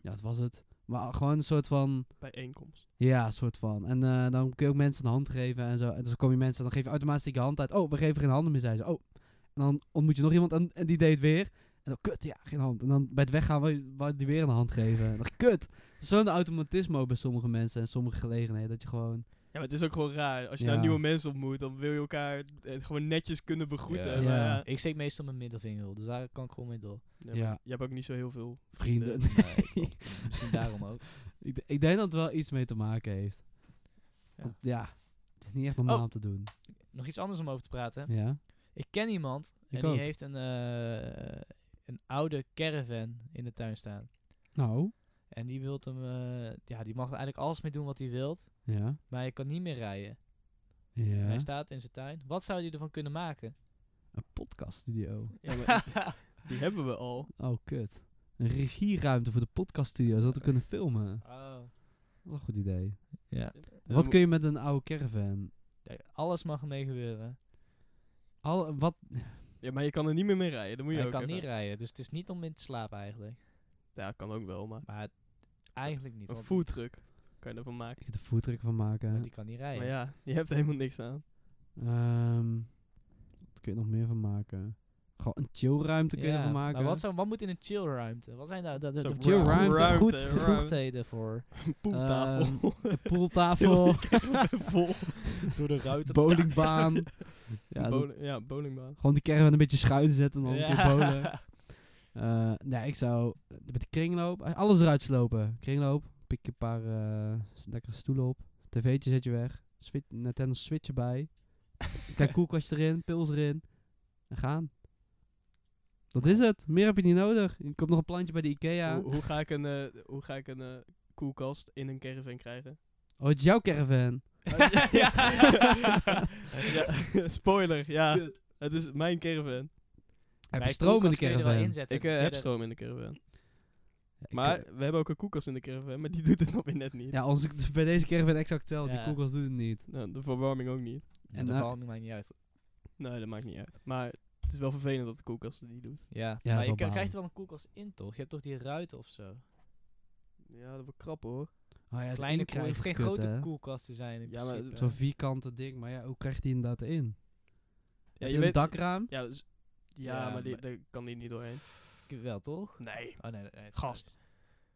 ja, wat was het? Maar gewoon een soort van... Bijeenkomst. Ja, een soort van. En eh, dan kun je ook mensen een hand geven en zo. En dus dan kom je mensen en dan geef je automatisch je hand uit. Oh, we geven geen handen meer, zei ze. Oh. En dan ontmoet je nog iemand en, en die deed het weer. En dan, kut, ja, geen hand. En dan bij het weggaan wil je- wou je die weer een hand geven. En dan, kut. Zo'n automatisme ook bij sommige mensen en sommige gelegenheden. Dat je gewoon... Ja, maar het is ook gewoon raar. Als je Ja. nou nieuwe mensen ontmoet, dan wil je elkaar eh, gewoon netjes kunnen begroeten. Ja. Maar eh, Ja. ja, Ik steek meestal mijn middelvinger op, dus daar kan ik gewoon mee door. ja, maar Ja. je hebt ook niet zo heel veel eh, Vrienden. vrienden. Nee, Misschien daarom ook. Ik, d- ik denk dat het wel iets mee te maken heeft. Ja. Want ja, het is niet echt normaal Oh. om te doen. Nog iets anders om over te praten. Ja. Ik ken iemand Ik en ook. die heeft een, eh, een oude caravan in de tuin staan. Nou. En die wilt hem, eh, ja, die mag er eigenlijk alles mee doen wat hij wilt, Ja. maar hij kan niet meer rijden. Ja. Hij staat in zijn tuin. Wat zou hij ervan kunnen maken? Een podcaststudio. Ja, maar die hebben we al. Oh, kut. Een regieruimte voor de podcaststudio, zodat we kunnen filmen. Oh. Dat is een goed idee. Ja. Wat kun je met een oude caravan? Ja, Alles mag ermee gebeuren. Al, wat? Ja, maar je kan er niet meer mee rijden. Dat moet je Hij ook kan even. niet rijden, dus het is niet om in te slapen eigenlijk. Ja, kan ook wel, maar... Maar het- eigenlijk niet, Een want foodtruck kan je daarvan maken. Ik ga er voertruck van maken. want die kan niet rijden. Maar ja, je hebt er helemaal niks aan. Ehm, wat kun je er nog meer van maken? Gewoon een chillruimte kun je Ja, ervan maken. Maar wat, zou, wat moet in een chillruimte? Wat zijn daar de, de, Zo'n de chillruimte, bevoegd- goed ruimte, bevoegdheden voor? Een poeltafel. Poeltafel, Vol. Door de ruiten. bowlingbaan. ja, dat- Bowling- ja, bowlingbaan. Gewoon die caravan een beetje schuin zetten en dan een keer bowlen. Eh, nee, ik zou met de kringloop, eh, alles eruit slopen. Kringloop, pik je een paar eh, s- lekkere stoelen op. TV'tje zet je weg. Switch, Nintendo Switch erbij. Kijk, koelkast erin, pils erin. En gaan. Dat is het. Meer heb je niet nodig. Er komt nog een plantje bij de Ikea. Hoe, hoe ga ik een, eh, hoe ga ik een eh, koelkast in een caravan krijgen? Oh, het is jouw caravan. ja. Spoiler, ja. Het is mijn caravan. Heb je stroom in de caravan? Ik eh, heb stroom in de caravan. Ja, ik, Maar eh, we hebben ook een koelkast in de caravan, maar die doet het nog weer net niet. Ja, onze, bij deze caravan exact hetzelfde. Ja. Die koelkast doet het niet. Nou, de verwarming ook niet. En En dat nou- valt mij niet uit. Nee, dat maakt niet uit. Maar het is wel vervelend dat de koelkast het niet doet. Ja, wel maar je balen. k- krijgt er wel een koelkast in, toch? Je hebt toch die ruiten of zo? Ja, dat wordt krap hoor. Oh ja, het Kleine koel- inkrijgen hoeft is geen kut, grote hè? koelkasten zijn in Ja, maar- principe. Zo'n vierkante ding. Maar ja, hoe krijg je die inderdaad in? Ja, Heb je een dakraam? Ja, dus- ja, Ja, maar die, maar- daar kan die niet doorheen. Wel, toch? Nee. Oh, nee, nee, nee, Gast. thuis.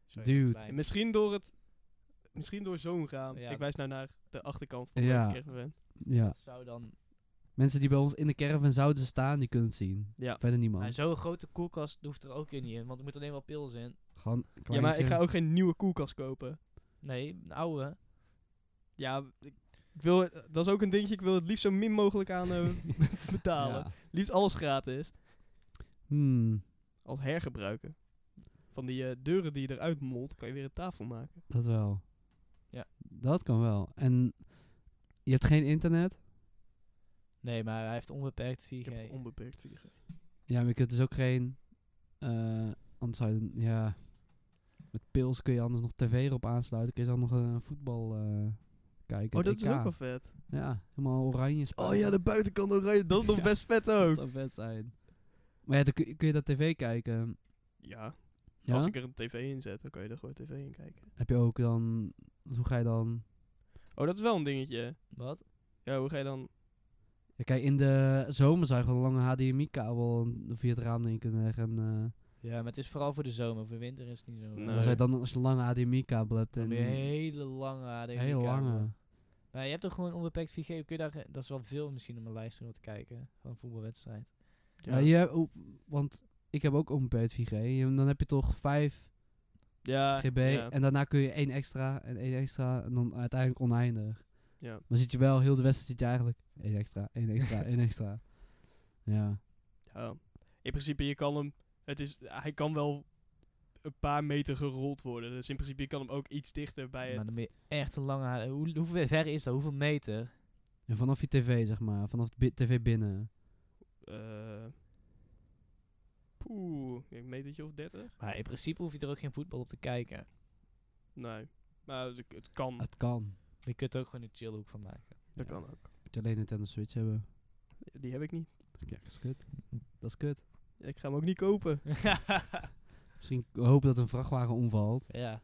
Sorry, Dude. klein. Misschien door het... Misschien door zo'n raam. Ja. Ik wijs nou naar de achterkant van Ja. de caravan. Ja. Dat zou dan... Mensen die bij ons in de caravan zouden staan, die kunnen het zien. Ja. Verder niemand. Maar zo'n grote koelkast hoeft er ook weer niet in, want er moet alleen wel pils in. Gewoon een Ja, maar ik kleintje. ga ook geen nieuwe koelkast kopen. Nee, een oude. Ja, ik ik wil het, dat is ook een dingetje. Ik wil het liefst zo min mogelijk aan eh, betalen. Ja. Liefst alles gratis. Hmm, Als hergebruiken. Van die eh, deuren die je eruit molt, kan je weer een tafel maken. dat wel. Ja. Dat kan wel. En je hebt geen internet? Nee, maar hij heeft onbeperkt 4G. Ik heb onbeperkt 4G. Ja, maar je kunt dus ook geen... eh, anders zou je... dan- Ja. Met pils kun je anders nog tv erop aansluiten. Kun je dan nog eh, voetbal eh, kijken. het Oh, dat is EK. ook wel vet. Ja, helemaal oranje Oh ja, de buitenkant oranje. Dat is nog Ja. best vet Dat ook. zou vet zijn. Maar ja, dan kun, kun je dat tv kijken. Ja, Ja? als ik er een tv in zet, dan kan je er gewoon tv in kijken. Heb je ook dan... Hoe ga je dan... Oh, dat is wel een dingetje. Wat? Ja, hoe ga je dan... Ja, kijk, in de zomer zou je gewoon een lange HDMI-kabel via het raam in kunnen leggen. En, eh, Ja, maar het is vooral voor de zomer. Voor winter is het niet zo. Nee. dan zou je dan, als je een lange HDMI-kabel hebt... Dan En ben je hele lange ADHD. hele lange. Maar je hebt toch gewoon onbeperkt 4G. Kun je daar, dat is wel veel misschien om een livestream wat te kijken. Van een voetbalwedstrijd. Ja, je hebt ook- want ik heb ook onbeperkt 4G. Je- Dan heb je toch 5 Ja, GB ja. en daarna kun je één extra en één extra en dan uiteindelijk oneindig. Ja. Maar zit je wel heel de wedstrijd zit je eigenlijk één extra, één extra, één extra. Ja. Ja. In principe, je kan hem... Het is, hij kan wel een paar meter gerold worden. Dus in principe, je kan hem ook iets dichter bij Maar het... dan ben je echt een lange ADHD. Hoe, hoe ver is dat? Hoeveel meter? En vanaf je tv zeg maar, vanaf de bi- tv binnen. eh poeh, een metertje of 30? Maar in principe hoef je er ook geen voetbal op te kijken. Nee. Maar het, het kan. Het kan. Je kunt er ook gewoon een chillhoek van maken. dat Ah, ja. kan ook. Moet je alleen Nintendo Switch hebben. Die heb ik niet. Ja, dat is kut. Dat is kut. Ik ga hem ook niet kopen. Misschien k- hopen dat een vrachtwagen omvalt. ja.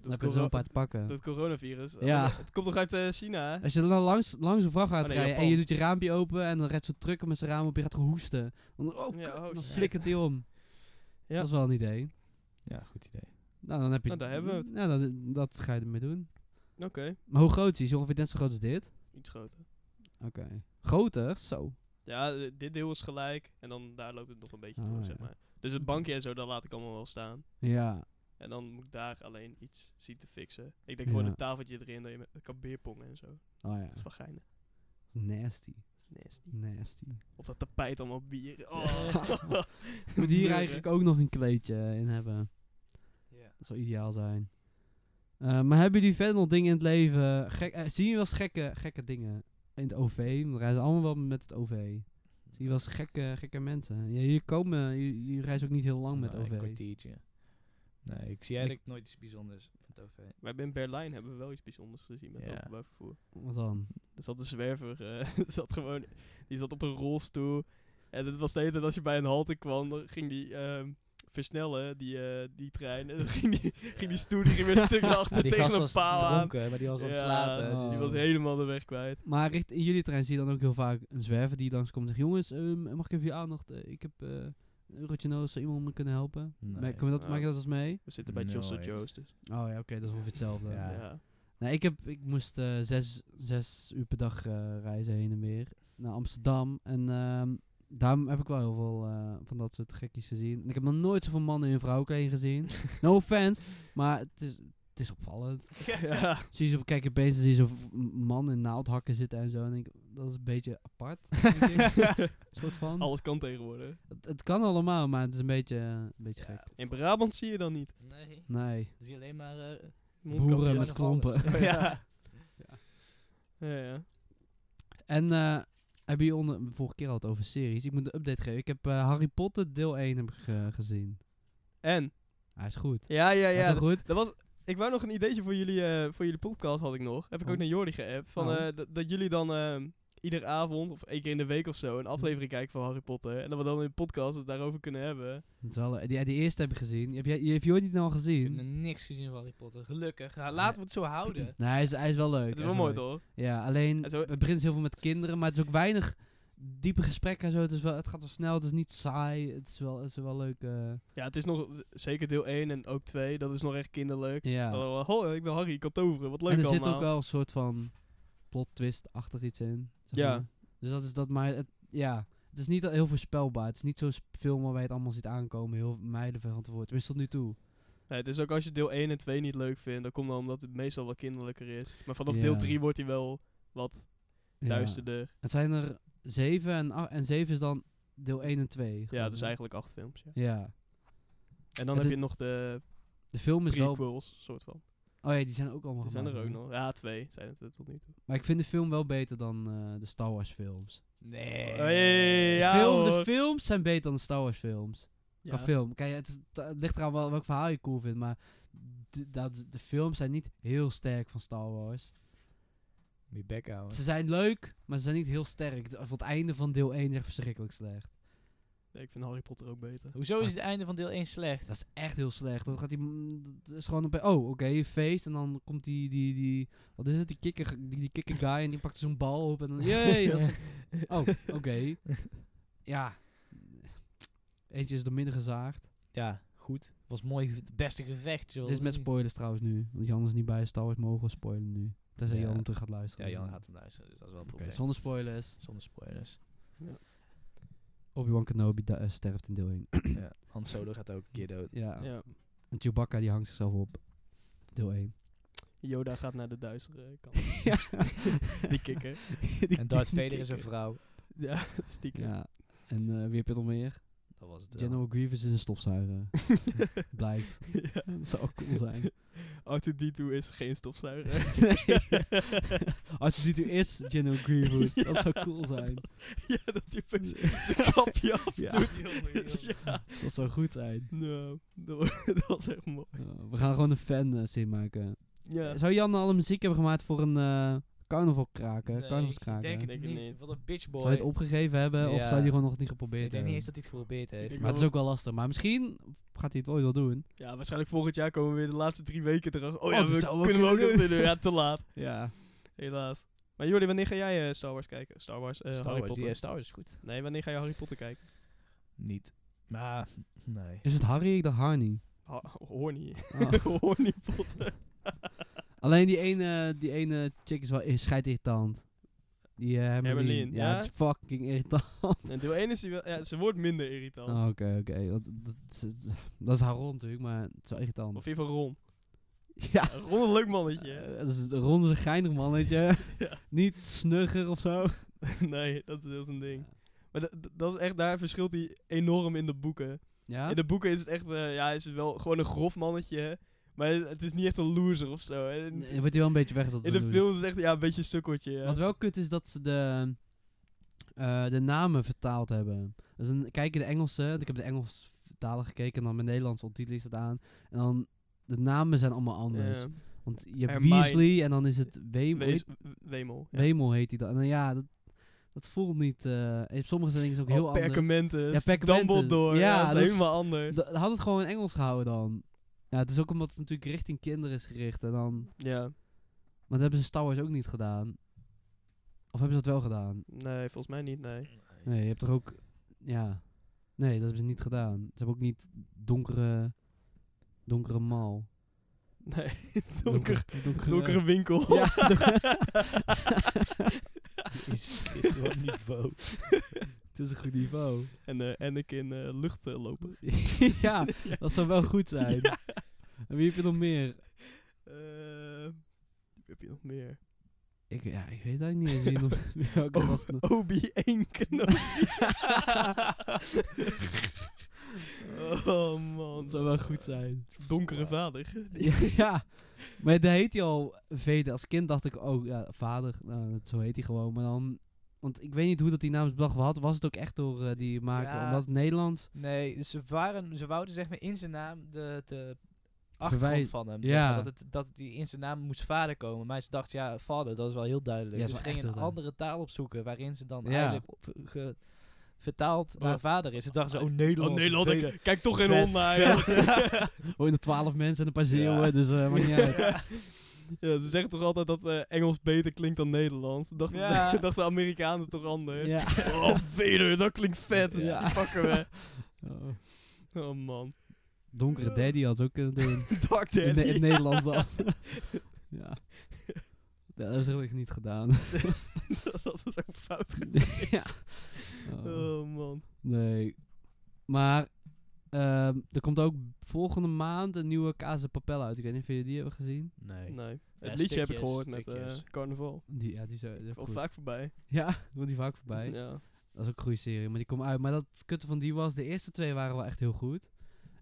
Dan heb Dat, je er coro- zo'n paar te pakken. dat coronavirus. Ja. Oh, het komt toch uit eh, China? hè? Als je dan langs, langs een vracht gaat Oh nee, rijden en Japan. je doet je raampje open en dan redt zo'n trucker met zijn raam op je gaat gewoon hoesten. Dan, oh, Ja, kut, oh, dan shit. flikkert hij om. Ja. Dat is wel een idee. Ja, goed idee. Nou, dan heb je... Nou, daar hebben we het. Ja, dat, dat ga je ermee doen. Oké. Maar hoe groot is die? Is die ongeveer net zo groot als dit? Iets groter. Oké. Groter? Zo. Ja, eh, dit deel is gelijk. En dan daar loopt het nog een beetje Ah, door, ja. zeg maar. Dus het bankje en zo, dat laat ik allemaal wel staan. Ja. En dan moet ik daar alleen iets zien te fixen. Ik denk Ja. gewoon een tafeltje erin dat je met, kan beerpongen en zo. Oh ja. Dat is wel geinig. Nasty. Nasty. Nasty. Op dat tapijt allemaal bier. Oh. Moet hier Meuren. eigenlijk ook nog een kleedje in hebben. Dat zou ideaal zijn. Eh, maar hebben jullie verder nog dingen in het leven? Gek, eh, zien jullie wel eens gekke, gekke dingen in het OV? We reizen allemaal wel met het OV. Zien jullie wel eens gekke, gekke mensen? Ja, jullie komen, jullie, jullie reizen ook niet heel lang met Nou, Een OV. kwartiertje. Nee, ik zie Ik- eigenlijk nooit iets bijzonders van het OV. We hebben in Berlijn hebben we wel iets bijzonders gezien met Ja. openbaar vervoer. Wat dan? Er zat een zwerver, eh, zat gewoon, die zat op een rolstoel. En het was de hele tijd als je bij een halte kwam, dan ging die ehm, versnellen, die, eh, die trein. En dan ging die, ging die stoel die ging weer een stuk naar achter Ja, die gast tegen een was paal aan. dronken, maar die was aan het Ja, slapen. Oh. Die was helemaal de weg kwijt. Maar richt, in jullie trein zie je dan ook heel vaak een zwerver die langskomt en zegt... Jongens, ehm, mag ik even je aandacht? Eh, ik heb eh, een eurotje nodig, zou iemand me kunnen helpen? Nee. Merk- kunnen we dat, Nou. maak je dat eens mee? We zitten bij Joss Nooit. Joe's, dus Oh ja, oké, dat is ongeveer hetzelfde. Ja. ja. Nou, ik, heb, ik moest eh, zes, zes uur per dag eh, reizen heen en weer naar Amsterdam. En ehm, daar heb ik wel heel veel eh, van dat soort gekkies gezien. En ik heb nog nooit zoveel mannen in vrouwenkleding gezien. no offense, maar het is, het is opvallend. Ja. Zie je zo, kijk opeens dan zie je zo'n v- man in naaldhakken zitten en zo. En ik, dat is een beetje apart, soort van. Alles kan tegenwoordig. Het, het kan allemaal, maar het is een beetje, eh, een beetje Ja. gek. In Brabant zie je dan niet. Nee, Nee. zie alleen maar... eh, Mondkapjes. Boeren Ja, met nog klompen. alles. Oh, ja. Ja, ja. En eh, hebben jullie onder, vorige keer al het over series. Ik moet een update geven. Ik heb eh, Harry Potter deel 1 heb ik, eh, gezien. En? Hij is goed. Ja, ja, Ja, ja. goed. Dat was, ik wou nog een ideetje voor jullie, eh, voor jullie podcast had ik nog. Heb ik Oh. ook naar Jordi geappt. Van, Oh. eh, dat- dat jullie dan eh, iedere avond of één keer in de week of zo een aflevering kijken van Harry Potter. En dat we dan in de podcast het daarover kunnen hebben. Dat is wel- die, die eerste heb ik gezien. Heb jij, heb Jordi nou al Ik heb nog gezien? niks gezien van Harry Potter. Gelukkig. Nou, laten we het zo houden. Nee, hij is, hij is wel leuk. Het is hij wel mooi toch? Ja, alleen Hij is wel- het begint dus heel veel met kinderen, maar het is ook weinig diepe gesprekken en zo. Het, is wel, het gaat wel snel, het is niet saai. Het is wel, het is wel leuk. eh, Ja, het is nog z- zeker deel 1 en ook 2. Dat is nog echt kinderlijk. ja. Oh, hoi, ik ben Harry, ik kan toveren. Wat leuk en er allemaal. zit ook wel een soort van plot twist-achtig iets in. zeg Ja. maar. Dus dat is dat, maar het, ja, het is niet al heel voorspelbaar. Het is niet zo'n sp- film waarbij je het allemaal ziet aankomen, heel mijlenver van tevoren. Tenminste tot nu toe. Nee, het is ook als je deel 1 en 2 niet leuk vindt, dan komt dat omdat het meestal wel kinderlijker is. Maar vanaf Ja. deel 3 wordt hij wel wat Ja. duisterder. Het zijn er zeven en, ach- en zeven is dan deel 1 en 2. Ja, dus eigenlijk acht films. Ja. Ja. En dan Het heb is- je nog de De film is wel... prequels, soort van. Oh ja, die zijn ook allemaal Die zijn er gemaakt, ook hè? nog. Ja, twee zijn het er tot nu toe. Maar ik vind de film wel beter dan eh, de Star Wars films. Nee. Oh, Hey, ja, film, de hoor. films zijn beter dan de Star Wars films. Qua film. Kijk, het, is- het ligt eraan wel, welk verhaal je cool vindt, maar de, dat, de films zijn niet heel sterk van Star Wars. Moet je bek houden. Ze zijn leuk, maar ze zijn niet heel sterk. Voor het einde van deel 1 is echt verschrikkelijk slecht. Nee, ik vind Harry Potter ook beter. Hoezo is het einde van deel 1 slecht? Dat is echt heel slecht. Dan gaat die, m- dat is gewoon een, pe- oh, oké, feest. En dan komt die, die, die, wat is het, die kikker, die, die kikker guy en die pakt zo'n bal op en dan, jee, dat is Oh, oké. ja. Eentje is door midden gezaagd. Ja, goed. Was mooi, ge- het beste gevecht, joh. Dit is met spoilers trouwens nu. Want Jan is niet bij Star Wars mogen we spoilen nu. Tenzij Ja. Jan hem terug gaat luisteren. Ja, Dus Jan dan- gaat hem luisteren, dus dat is wel een Oké, probleem. zonder spoilers. Zonder spoilers. Obi-Wan Kenobi da- eh, sterft in deel 1. ja, Han Solo gaat ook een keer dood. ja. Ja. En Chewbacca die hangt zichzelf op. Deel 1. Yoda gaat naar de duistere kant. Die kikker. en Darth Vader is een vrouw. Ja, stiekem. Ja. En eh, wie heb je nog meer? Dat was het wel. General Grievous is een stofzuiger. Blijkt. Ja. Dat zou ook cool zijn. Arthur D2 is geen stofzuiger. Als je ziet, u is General Grievous. Dat zou cool zijn. ja, dat hij even zijn kapje af Ja. doet. Jongen, ja. Dat zou goed zijn. Nou, dat wa- dat was echt mooi. Ja, we gaan gewoon een fan eh, scene maken. Ja. Zou Jan al een muziek hebben gemaakt voor een eh carnaval kraken? Nee, ik carnavalskraken? denk het Denk het niet. niet. Wat een bitchboy. Zou je het opgegeven hebben of Ja. zou hij gewoon nog niet geprobeerd Ik denk niet hebben? eens dat hij het geprobeerd heeft. denk maar het is wel- ook wel lastig. Maar misschien gaat hij het ooit wel doen. ja, waarschijnlijk volgend jaar komen we weer de laatste drie weken erachter. Oh ja, dat we zouden we kunnen we ook kunnen nog doen. doen. Ja, te laat. Ja. Helaas. Maar Jordi, wanneer ga jij eh, Star Wars kijken? Star Wars, eh, Star Harry Wars, Potter. ja, Star Wars is goed. Nee, wanneer ga je Harry Potter kijken? Niet. Maar, nee. Is het Harry? Ik dacht Harney. Ha horny. Oh. horny Potter. Alleen die ene, die ene chick is wel is schijt irritant. Die eh, Hermeline. Hermeline, Ja, ja? het is fucking irritant. En deel 1 is die wel... Ja, ze wordt minder irritant. Oh, Oké, oké. Want Dat, is- dat is haar rond natuurlijk, maar het is wel irritant. Of even Ron. ja. Ja, Ron een leuk mannetje. hè? Eh, dat is rond is een geinig mannetje. Ja. Niet snugger of zo. nee, dat is heel zijn ding. Maar da- da- dat is echt... Daar verschilt hij enorm in de boeken. Ja? In de boeken is het echt... eh, ja, is het wel gewoon een grof mannetje. hè? Maar het is niet echt een loser of zo. hè? In, Nee, wordt hij wel een beetje weggezet. in de film is het echt ja, een beetje een sukkeltje. Ja. Wat wel kut is dat ze de, eh, de namen vertaald hebben. Dus dan kijk je de Engelse, want ik heb de Engels vertalen gekeken en dan mijn Nederlandse ondertiteling staat aan. En dan, de namen zijn allemaal anders. Ja. Want je hebt Hermione. Weasley en dan is het Wemel. Wees- Wemel. ja. Wemel heet hij dan. En ja, dat, dat voelt niet... eh, en sommige zijn dingen ook Oh, heel anders. Perkamentus. Ja, Perkamentus. Dumbledore. Ja, dus Ja, dat is dat is- helemaal anders. Da- Had het gewoon in Engels gehouden dan. Ja, het is ook omdat het natuurlijk richting kinderen is gericht. En dan, Ja. maar dat hebben ze in Star Wars ook niet gedaan. Of hebben ze dat wel gedaan? Nee, volgens mij niet, nee. Nee, je hebt toch ook... Ja. Nee, dat hebben ze niet gedaan. Ze hebben ook niet donkere... Donkere mal. Nee, donker, donkere, donkere winkel. Ja, Is, is wel niveau. het is een goed niveau. En eh Anakin eh lucht eh, lopen. ja, dat zou wel goed zijn. Ja. En wie heb je nog meer? Eh, wie heb je nog meer? Ik, ja, ik weet eigenlijk niet eens wie nog... Welke was het nog? Obi-Wan Kenobi. oh man. Dat zou wel goed zijn. Donkere vader. ja, ja. maar daar heet hij al Vader. Als kind dacht ik ook, ja, vader, nou, dat, zo heet hij gewoon. Maar dan, want ik weet niet hoe dat die naam is bedacht. Had, was het ook echt door eh, die maker? Ja. Omdat het Nederlands... Nee, dus ze, waren, ze wouden zeg maar in zijn naam de, de achtergrond Verwij- van hem. Ja. zeg maar, dat, het, dat die in zijn naam moest vader komen. Maar ze dachten, ja, vader, dat is wel heel duidelijk. Ja, dat dus is ze wel gingen echt een heel andere taal opzoeken waarin ze dan Ja. eigenlijk op- ge- vertaald Oh. naar vader is. Ze dachten ze, oh, Oh Nederland. nee, laat vervelend. ik, kijk toch geen Vet, hond naar. vet. Ja. Oh, in de twaalf mensen en een paar zeeuwen, dus eh maakt niet uit. Ja, ze zeggen toch altijd dat eh, Engels beter klinkt dan Nederlands. Dacht, Ja. dacht de Amerikanen toch anders? Ja. Oh, Vader, dat klinkt vet. Ja. Die pakken we. Oh. Oh man. Donkere daddy had ze ook kunnen doen. Dark In, Daddy. Ne- in Nederlands dan. ja. Ja, Dat is echt niet gedaan. dat is ook fout. ja. Oh. Oh man. Nee. Maar ehm, er komt ook volgende maand een nieuwe Casa Papel uit. Ik weet niet of jullie die hebben gezien. Nee. Nee. Ja, Het liedje heb ik stukjes, gehoord met eh stukjes. carnaval. Die, ja, die zo. Wel vaak voorbij. Ja, daar komt die vaak voorbij. Oh, Ja. Dat is ook een goede serie, maar die komt uit. Maar dat het kutte van die was, de eerste twee waren wel echt heel goed.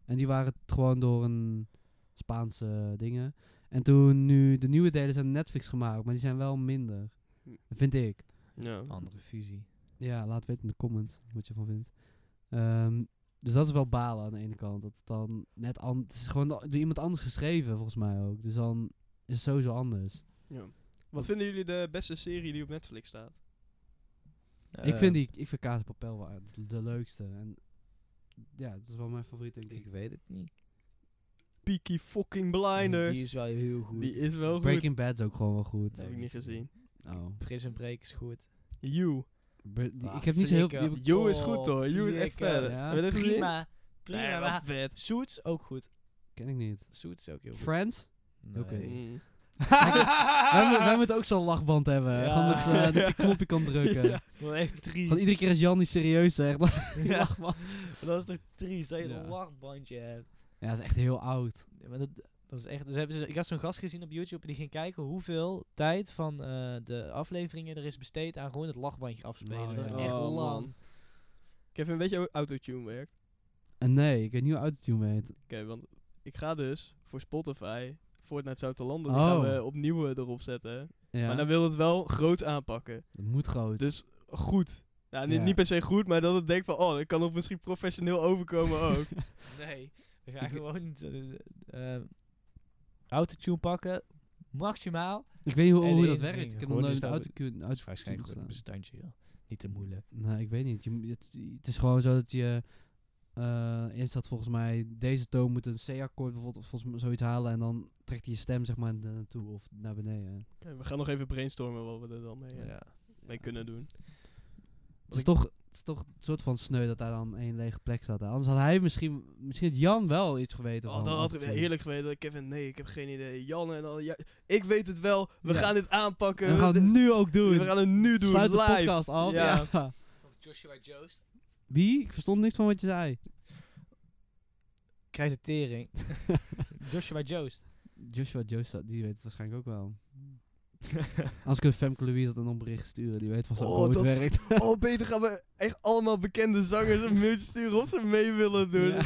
En die waren t- gewoon door een Spaanse dingen. En toen nu, de nieuwe delen zijn op Netflix gemaakt, maar die zijn wel minder. Vind ik. ja. Oh. Andere visie. Ja, laat weten in de comments wat je ervan vindt. Ehm, Dus dat is wel balen aan de ene kant. Dat het dan net anders... Het is gewoon door iemand anders geschreven, volgens mij ook. Dus dan is het sowieso anders. Ja. Wat vinden jullie de beste serie die op Netflix staat? Eh, ik vind die... Ik vind Kaas en Papel wel de, de leukste. En ja, dat is wel mijn favoriet, denk ik. Ik weet het niet. Peaky fucking Die is Blinders. wel heel goed. Die is wel goed. Breaking Bad is ook gewoon wel goed. Dat heb ik niet gezien. Oh. Prison Break is goed. You. Bre- die- Ah, ik heb niet zo heel... die flikker. heb ik- You is Oh, goed hoor. You is echt flikker. vet. Ja. Heb je dat gezien? Prima. Prima. Ja, wel maar vet. Suits ook goed. ken ik niet. Suits ook heel goed. Friends? Nee. Oké. Nee. Mm. Wij, moeten- wij moeten ook zo'n lachband hebben. Ja. Gewoon met, eh, dat je knopje kan drukken. Ja. Dat is echt triest. Want iedere keer als Jan die serieus zegt... dan- Ja. Dat is toch triest dat je Ja. een lachbandje hebt. ja, dat is echt heel oud. Ja, maar dat, dat is echt. Dus hebben ze, ik had zo'n gast gezien op YouTube en die ging kijken hoeveel tijd van eh, de afleveringen er is besteed aan gewoon het lachbandje afspelen. Nou, dat is ja. echt Oh, lang. man. Ik heb een beetje hoe autotune werkt. En nee, ik weet niet hoe autotune heet. Oké, want ik ga dus voor Spotify, Fortnite Zoute Landen, Oh. die gaan we opnieuw eh, erop zetten. Ja, Maar dan wil het wel groot aanpakken. dat moet groot. Dus goed. Nou, niet, Ja. niet per se goed, maar dat het denkt van, oh, dat kan ook misschien professioneel overkomen ook. Nee, we gaan Ik- gewoon niet eh, eh, autotune pakken. Maximaal. ik weet niet hoe, en hoe de dat inzending. werkt. Ik heb nog Gewoon nooit met dus dat- autotune Dat is autotune waarschijnlijk een gestaan. bestandje. joh. Niet te moeilijk. Nee, ik weet niet. Je, moet- het, het is gewoon zo dat je... eh eerst dat volgens mij deze toon moet een C-akkoord bijvoorbeeld of volgens mij zoiets halen. En dan trekt hij je stem zeg maar na- naartoe of naar beneden. Oké, we gaan nog even brainstormen wat we er dan mee, eh, Ja. mee kunnen doen. Het is, toch, het is toch een soort van sneu dat daar dan één lege plek staat. Anders had hij misschien, misschien had Jan wel iets geweten. Oh, van dat had ik autotune. eerlijk geweten. Kevin, nee, ik heb geen idee. Jan en al, ja, ik weet het wel. We Ja. gaan dit aanpakken. We gaan het Dit- nu ook doen. We gaan het nu doen, Sluit de live. podcast af. Ja. ja. Joshua Joost. Wie? Ik verstond niks van wat je zei. Krijg de tering. Joshua Joost. Joshua Joestra, die weet het waarschijnlijk ook wel. Als ik Femke Louise dat een bericht sturen, die weet vast ook Oh, wel hoe het dat is- werkt. Oh, beter gaan we echt allemaal bekende zangers een mailtje sturen of ze mee willen doen. Ja.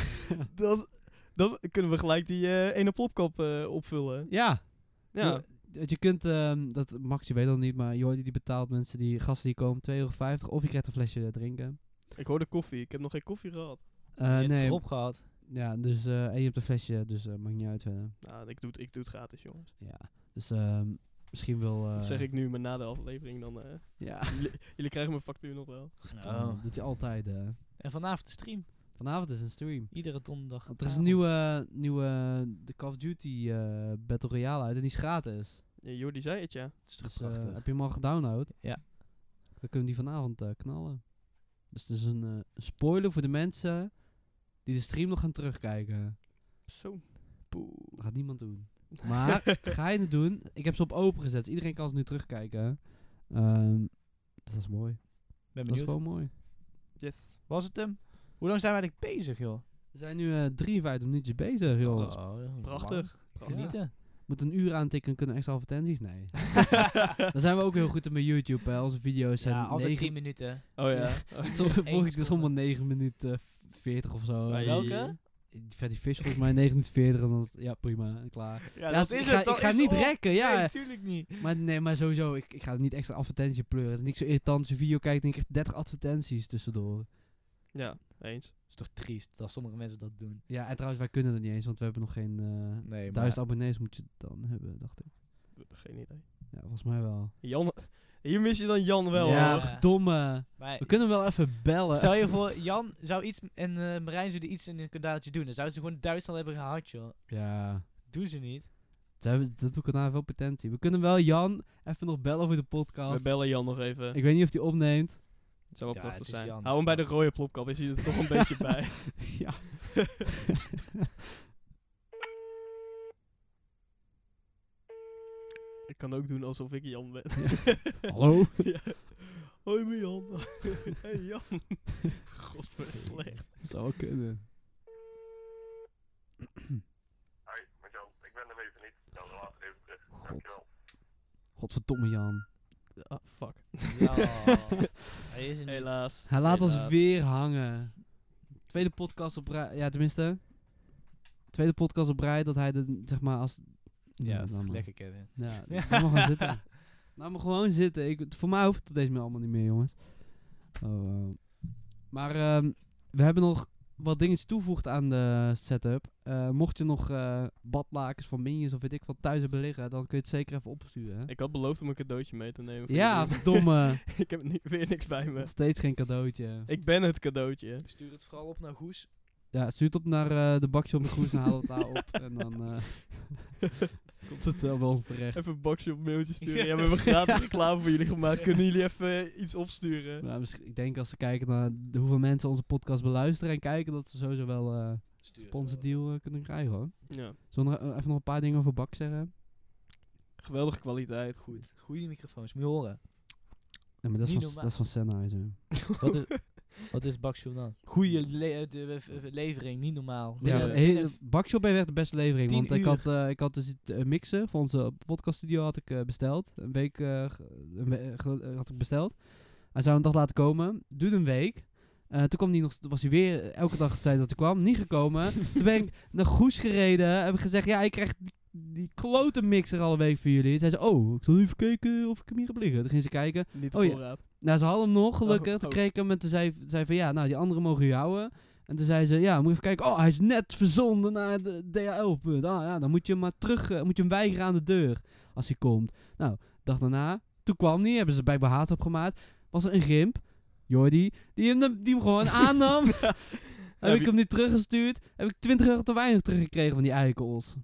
Dat, dan kunnen we gelijk die eh, ene plopkap eh, opvullen. Ja. Ja. Je, want je kunt, ehm, dat Max, je weet dat niet, maar Jordi die betaalt mensen, die gasten die komen 2,50 euro of je krijgt een flesje drinken. Ik hoorde koffie. Ik heb nog geen koffie gehad. Eh, Je hebt nee, erop gehad. ja, dus, eh, en je hebt een flesje, dus eh, maakt niet uit verder. Nou, ik doe het, ik doe het gratis, jongens. Ja, dus ehm, misschien wil... eh, Dat zeg ik nu, maar na de aflevering dan... eh, Ja, jullie, jullie krijgen mijn factuur nog wel. Oh. dat je altijd... eh, En vanavond de stream. vanavond is een stream. Iedere donderdag. Want er is een nieuwe, nieuwe de Call of Duty eh, Battle Royale uit en die is gratis. Ja, Jordi zei het, ja. is Dus, eh, heb je hem al gedownload? Ja. Dan kunnen we die vanavond eh, knallen. Dus het is een eh, een spoiler voor de mensen die de stream nog gaan terugkijken. Zo. Dat gaat niemand doen. Maar ga je het doen? Ik heb ze op open gezet, dus iedereen kan ze nu terugkijken. Ehm, dus dat is mooi. ben Dat is benieuwd. gewoon mooi. Yes. Was het hem? Hoe lang zijn we eigenlijk bezig, joh? We zijn nu eh 53 minuutjes bezig, joh. Oh, dat is Prachtig. lang. Genieten. Moet een uur aantikken, kunnen extra advertenties? Nee. Dan zijn we ook heel goed in met YouTube. Hè. Onze video's zijn Ja, altijd 10 negen... minuten. Oh ja. Soms Eén volg ik dus seconde. allemaal 9 minuten 40 of zo. Ai. Welke? Fatty Fish volgens mij 1940 en dan is- ja prima, klaar. Ja, Ja, ik ga, ik ga niet rekken, ja. natuurlijk niet. Maar nee, maar sowieso, ik, ik ga niet extra advertentie pleuren. Het is niet zo irritant als je video kijkt en je krijgt 30 advertenties tussendoor. Ja, eens. Het is toch triest dat sommige mensen dat doen. Ja, en trouwens, wij kunnen dat niet eens, want we hebben nog geen eh Nee, maar... duizend abonnees moet je dan hebben, dacht ik. Geen idee. Ja, volgens mij wel. Jan... Hier mis je dan Jan wel, ja, hoor. verdomme. maar We kunnen wel even bellen. stel je voor, Jan zou iets en eh Marijn zouden iets in een kanaaltje doen. Dan zouden ze gewoon Duitsland hebben gehad, joh. Ja, Doen ze niet. ze hebben- dat doet kanaal veel potentie. We kunnen wel Jan even nog bellen voor de We podcast. bellen Jan nog even. Ik weet niet of hij opneemt. Het zou wel Ja, prachtig het is zijn. Jan, Hou hem dus bij de rode plopkap, is hij er toch een beetje bij. Ja. Ik kan ook doen alsof ik Jan ben. Hallo? ja. Hoi, mijn Jan. hey, Jan. God, wat slecht. Dat zou wel kunnen. Hoi, met Jan. Ik ben er even niet. Dan later even terug. God. Dankjewel. Godverdomme Jan. Ah, fuck. Ja. Hij is er niet. Helaas. Hij laat ons Helaas. weer hangen. Tweede podcast op rij. Ja, tenminste. Tweede podcast op rij dat hij de, zeg maar als... Ja, Nou, laat maar. lekker Kevin. Ja, laat maar gaan zitten. Laat maar gewoon zitten. Ik, voor mij hoeft het op deze manier allemaal niet meer, jongens. Oh, eh. Maar ehm, oh. we hebben nog wat dingetjes toevoegt aan de setup. Eh, mocht je nog eh, badlakens van Minions of weet ik wat thuis hebben liggen, dan kun je het zeker even opsturen. hè? Ik had beloofd om een cadeautje mee te nemen. voor Ja, jullie. verdomme. ik heb ni- weer niks bij me. Nog steeds geen cadeautje. Ik ben het cadeautje. Stuur het vooral op naar Goes. Ja, stuur het op naar eh, de bakje op de groes en haal het daar op. En dan eh, komt het wel bij ons terecht. Even een boxje op mailtje sturen. Ja, we hebben gratis reclame voor jullie gemaakt. Kunnen jullie even eh, iets opsturen? Nou, misschien- ik denk als ze kijken naar de- hoeveel mensen onze podcast beluisteren en kijken, dat ze sowieso wel eh Stuur het onze wel. deal eh, kunnen krijgen hoor. Ja. Zullen we nog, eh, even nog een paar dingen over bak zeggen? Geweldige kwaliteit. Goed. Goede microfoons, moet je horen. Ja, maar dat is, Niet van, dat normaal. is van Sennheiser. Wat is, wat is Bakshop dan? Goede levering, niet normaal. Eh, Ja, eh, Binnen- heel, binnen- Bakshop heeft echt de beste levering. Tien Want ik uur. had, eh, ik had dus het eh, mixen voor onze podcaststudio had ik eh, besteld. Een week eh, ge- een we- ge- eh, had ik besteld. Hij zou een dag laten komen. Duurde een week. Eh, toen kwam hij nog, toen was hij weer eh, elke dag zei dat hij kwam. Niet gekomen. toen ben ik naar Goes gereden. Heb ik gezegd, ja, ik krijg die, die klote mixer alle week voor jullie. Zei ze, oh, ik zal even kijken of ik hem hier heb liggen. Toen ging ze kijken. Niet Oh op ja. voorraad. Nou, ze hadden hem nog, gelukkig. Oh, Toen oh. kreeg ik hem en toen zei, zei van, ja, nou, die anderen mogen je houden. En toen zei ze, ja, moet je even kijken. Oh, hij is net verzonden naar de DHL-punt. Ah, ja, dan moet je hem maar terug, eh, moet je hem weigeren aan de deur als hij komt. Nou, dag daarna, toen kwam hij, hebben ze bij haat opgemaakt. Was er een gimp, Jordi, die hem, die hem gewoon aannam. heb ik wie- hem nu teruggestuurd. Heb ik 20 euro te weinig teruggekregen van die eikels.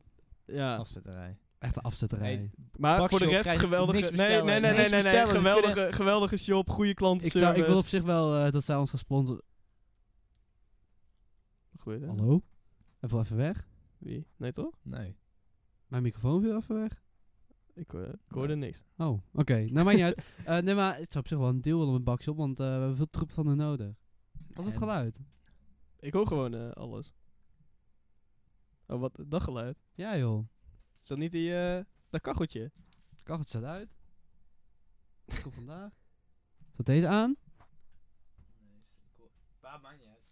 Ja. Afzetterij. Echt een afzetterij. Hey, Maar Bakshop voor de rest krijgt geweldige... niks nee, nee, nee, bestellen. nee, Niks nee, nee, bestellen. We Geweldige, geweldige shop, goede ik, klantenservice. zou, ik wil op zich wel eh, dat zij ons gaan sponsoren. Wat gebeurt er? Hallo? Even, even weg. Wie? Nee toch? Nee. Mijn microfoon viel even weg. Ik, hoor- eh, ik hoorde niks. Oh, oké. Nou, maakt niet uit. Eh, nee, maar het zou op zich wel een deel willen met Bakshop, want eh, we hebben veel troep van de nodig. Wat is het En- geluid? Ik hoor gewoon eh, alles. Oh, wat? Dat geluid. Ja, joh. Is dat niet die... eh, dat kacheltje? Kach, het staat uit. Wat komt vandaag? Staat deze aan? Waar maakt niet uit.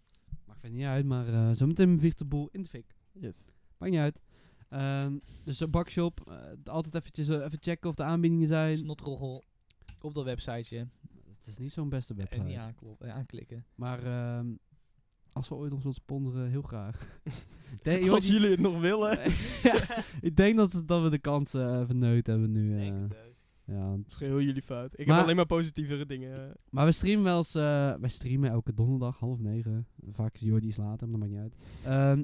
Maakt verder niet uit, maar eh zometeen vliegt de boel in de fik. Yes. Maakt niet uit. Ehm, dus eh, Bakshop, eh, altijd eventjes, eh, even checken of de aanbiedingen zijn. Snotroggel op dat websiteje. Het is niet zo'n beste website. En niet aanklo- eh, aanklikken. Maar ehm, als ze ooit ons wilt sponsoren, heel graag. Nee, joh, Als die- jullie het nog willen. Het ik denk dat, dat we de kans eh verneut hebben nu. eh. ja, want is geheel jullie fout. Ik Maar- heb alleen maar positievere dingen. eh. Maar we streamen wel eens... eh, wij streamen elke donderdag, half negen. Vaak is Jordi iets later, maar dat maakt niet uit. Ehm,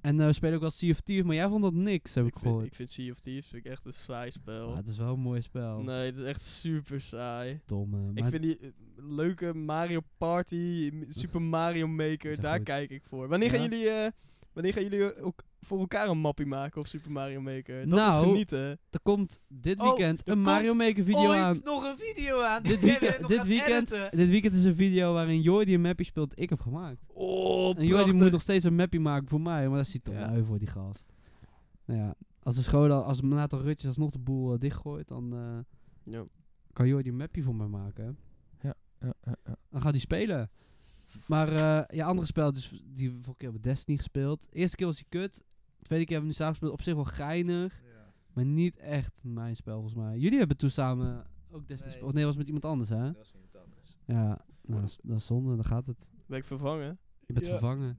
en eh, we spelen ook wel Sea of Thieves, maar jij vond dat niks, heb ik, ik, vind, gehoord. ik vind Sea of Thieves vind ik echt een saai spel. Ah, het is wel een mooi spel. Nee, het is echt super saai. Domme. Ik vind die eh, leuke Mario Party, m- Super Mario Is Maker, echt daar goed. kijk ik voor. Wanneer gaan Ja. jullie, eh, wanneer gaan jullie ook voor elkaar een mappie maken op Super Mario Maker? Dat Nou, is genieten. er komt dit Oh, weekend er een komt Mario Maker video Ooit aan. nog een video aan. Dit die we weekend- nog dit gaan weekend- editen. Dit weekend is een video waarin Jordi een mappie speelt die ik heb gemaakt. Oh, En Jordi moet nog steeds een mappie maken voor mij, maar dat ziet toch Ja. lui voor die gast. Nou ja, als de school, al- als een aantal rutjes alsnog de boel eh, dichtgooit, dan eh, Ja. kan Jordi een mappie voor mij maken. Ja, ja, ja. Dan gaat hij spelen. Maar eh, ja, andere spel, dus die we vorige keer hebben we Destiny gespeeld. Eerste keer was hij kut. Tweede keer hebben we nu samen gespeeld. Op zich wel geinig, maar niet echt mijn spel volgens mij. Jullie hebben toen samen ook Destiny Nee. gespeeld. Of nee, was met iemand anders hè? Dat is niet anders. Ja, nou, dat is- dat is zonde, dan gaat het. Ben ik vervangen? Je bent Ja. vervangen.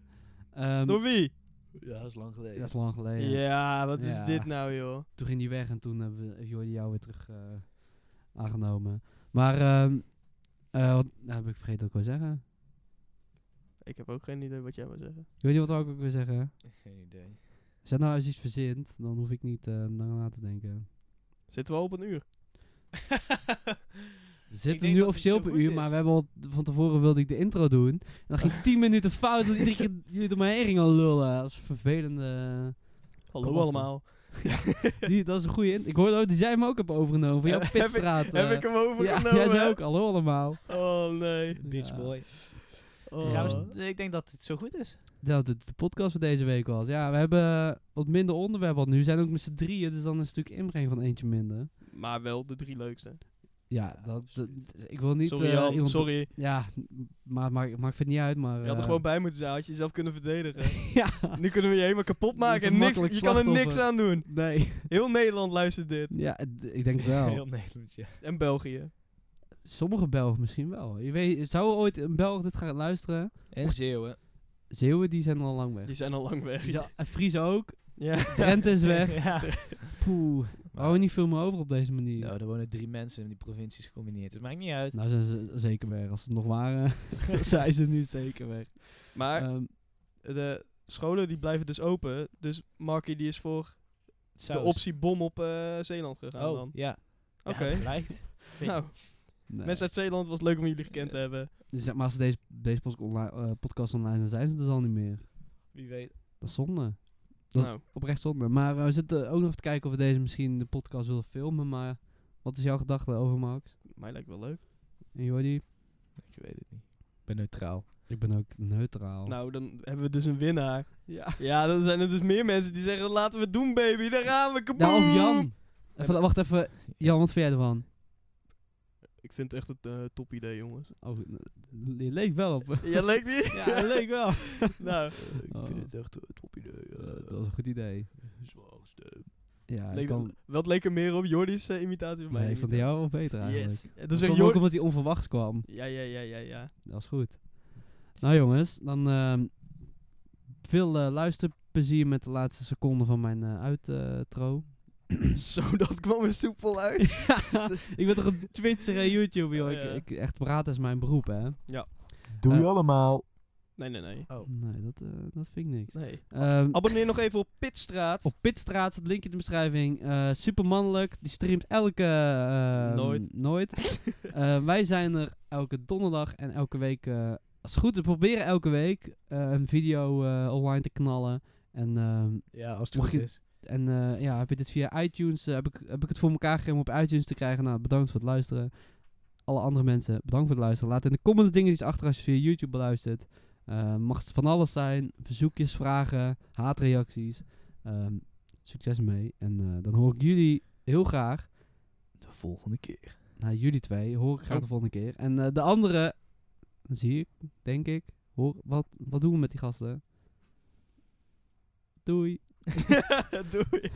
Ehm, Door wie? Ja, dat is lang dat geleden. is lang geleden. Ja, wat is Ja. dit nou, joh? Toen ging hij weg en toen hebben we heeft Jordi jou weer terug eh, aangenomen. Maar, ehm eh, wat nou, heb ik vergeten wat ik wil zeggen. Ik heb ook geen idee wat jij wil zeggen. Jordi, wat wou ik ook weer zeggen? Geen idee. Als jij nou eens iets verzint, dan hoef ik niet eh lang na te denken. Zitten we al op een uur? We denk zitten dat nu het officieel niet op zo een goed uur, is. maar we hebben al van tevoren wilde ik de intro doen. En dan ging 10 minuten fout, dat iedere keer jullie door mijn hering al lullen. Dat is vervelende. Hallo Kom, Assen. allemaal. Die, dat is een goede intro. Ik hoorde ook dat jij hem ook hebt overgenomen van jouw Heb ik- pitstraat. eh. Heb ik hem ja, overgenomen? Jij zei ook, hallo allemaal. Oh, nee. Bitch Ja. boy. Oh. Gaan we eens- ik denk dat het zo goed is. Dat het de podcast van deze week was. Ja, we hebben wat minder onderwerpen al nu. We zijn ook met z'n drieën, dus dan is het natuurlijk inbreng van eentje minder. Maar wel de drie leukste. Ja, dat, dat- ik wil niet... sorry, eh, Jan. iemand- Sorry. Ja, maar, maar, maakt het niet uit, maar... Je had er eh, gewoon bij moeten zijn. Had je jezelf kunnen verdedigen. ja. Nu kunnen we je helemaal kapot maken. Je En bent niks, een makkelijk je kan er niks slachtoffer. aan doen. Nee. Heel Nederland luistert dit. Ja, d- ik denk wel. Heel Nederland, ja. En België. Sommige Belgen misschien wel. Je weet, zou ooit een Belg dit gaan luisteren? En Zeeuwen. Zeeuwen, die zijn al lang weg. Die zijn al lang weg. Ja, en Friese ook. Ja. Drenthe is weg. Oh, ja. Poeh. We houden niet veel meer over op deze manier. Nou, er wonen drie mensen in die provincies gecombineerd. Dus maakt niet uit. Nou zijn ze zeker weg. Als het nog waren, zijn ze nu zeker weg. Maar Ehm, de scholen die blijven dus open. Dus Markie die is voor de Saus. optie bom op eh, Zeeland gegaan Oh, dan. ja. Oké. Ja, gelijk. nou, nee. Eh, Dus mensen uit Zeeland, was leuk om jullie gekend te hebben. Zeg maar als deze, deze podcast online, eh, podcast online zijn, zijn ze er al niet meer. Wie weet. Dat is zonde. Dat is- Nou, Oprecht zonde. Maar eh, we zitten ook nog te kijken of we deze misschien de podcast willen filmen. Maar wat is jouw gedachte over Max? mij lijkt wel leuk. En Jordi? Ik weet het niet. Ik ben neutraal. Ik ben ook neutraal. Nou, dan hebben we dus een winnaar. ja. Ja, dan zijn er dus meer mensen die zeggen, laten we het doen baby, daar gaan we, kaboom! Nou, of Jan. Even, dat- wacht even. Jan, wat vind jij ervan? Ik vind het echt een eh, top idee, jongens. Oh, je leek wel op. Ja, leek niet? ja, je leek wel. nou, ik vind het eh, echt een top idee. dat was een goed idee. Ja, ik leek kan- het- wat leek er meer op Jordi's eh, imitatie van mij? nee, ik vond die jou wel beter eigenlijk. Yes. En Dat dan zegt kwam ook Jordi... omdat hij onverwachts kwam. Ja, ja, ja, ja, ja. Dat is goed. Nou jongens, dan ehm, veel eh, luisterplezier met de laatste seconde van mijn eh outro. Zo, dat kwam er soepel uit. ik ben toch een Twitcher en YouTube, joh. Ja. Ik, ik, echt praten is mijn beroep, hè. Doe Eh, je allemaal. Nee, nee, nee. Oh. Nee, dat, eh, dat vind ik niks. Nee. Ehm, Abonneer nog even op Pitstraat. op Pitstraat, het linkje in de beschrijving. Eh supermannelijk, die streamt elke... eh, Nooit. Nooit. Eh, wij zijn er elke donderdag en elke week... eh, als het goed is, we proberen elke week eh, een video eh, online te knallen. En ehm, Ja, als het Mocht goed je- is. En eh, ja, heb je dit via iTunes? eh, heb, ik, heb ik het voor elkaar gegeven om op iTunes te krijgen? Nou, bedankt voor het luisteren. Alle andere mensen, bedankt voor het luisteren. Laat in de comments dingetjes achter als je via YouTube beluistert. Eh, mag het van alles zijn. Verzoekjes, vragen, haatreacties. Ehm, succes mee. En eh, dan hoor ik jullie heel graag. De volgende keer. Nou, jullie twee hoor ik graag de Oh. volgende keer. En eh, de andere zie ik, denk ik. Hoor, wat, wat doen we met die gasten? Doei. Doei.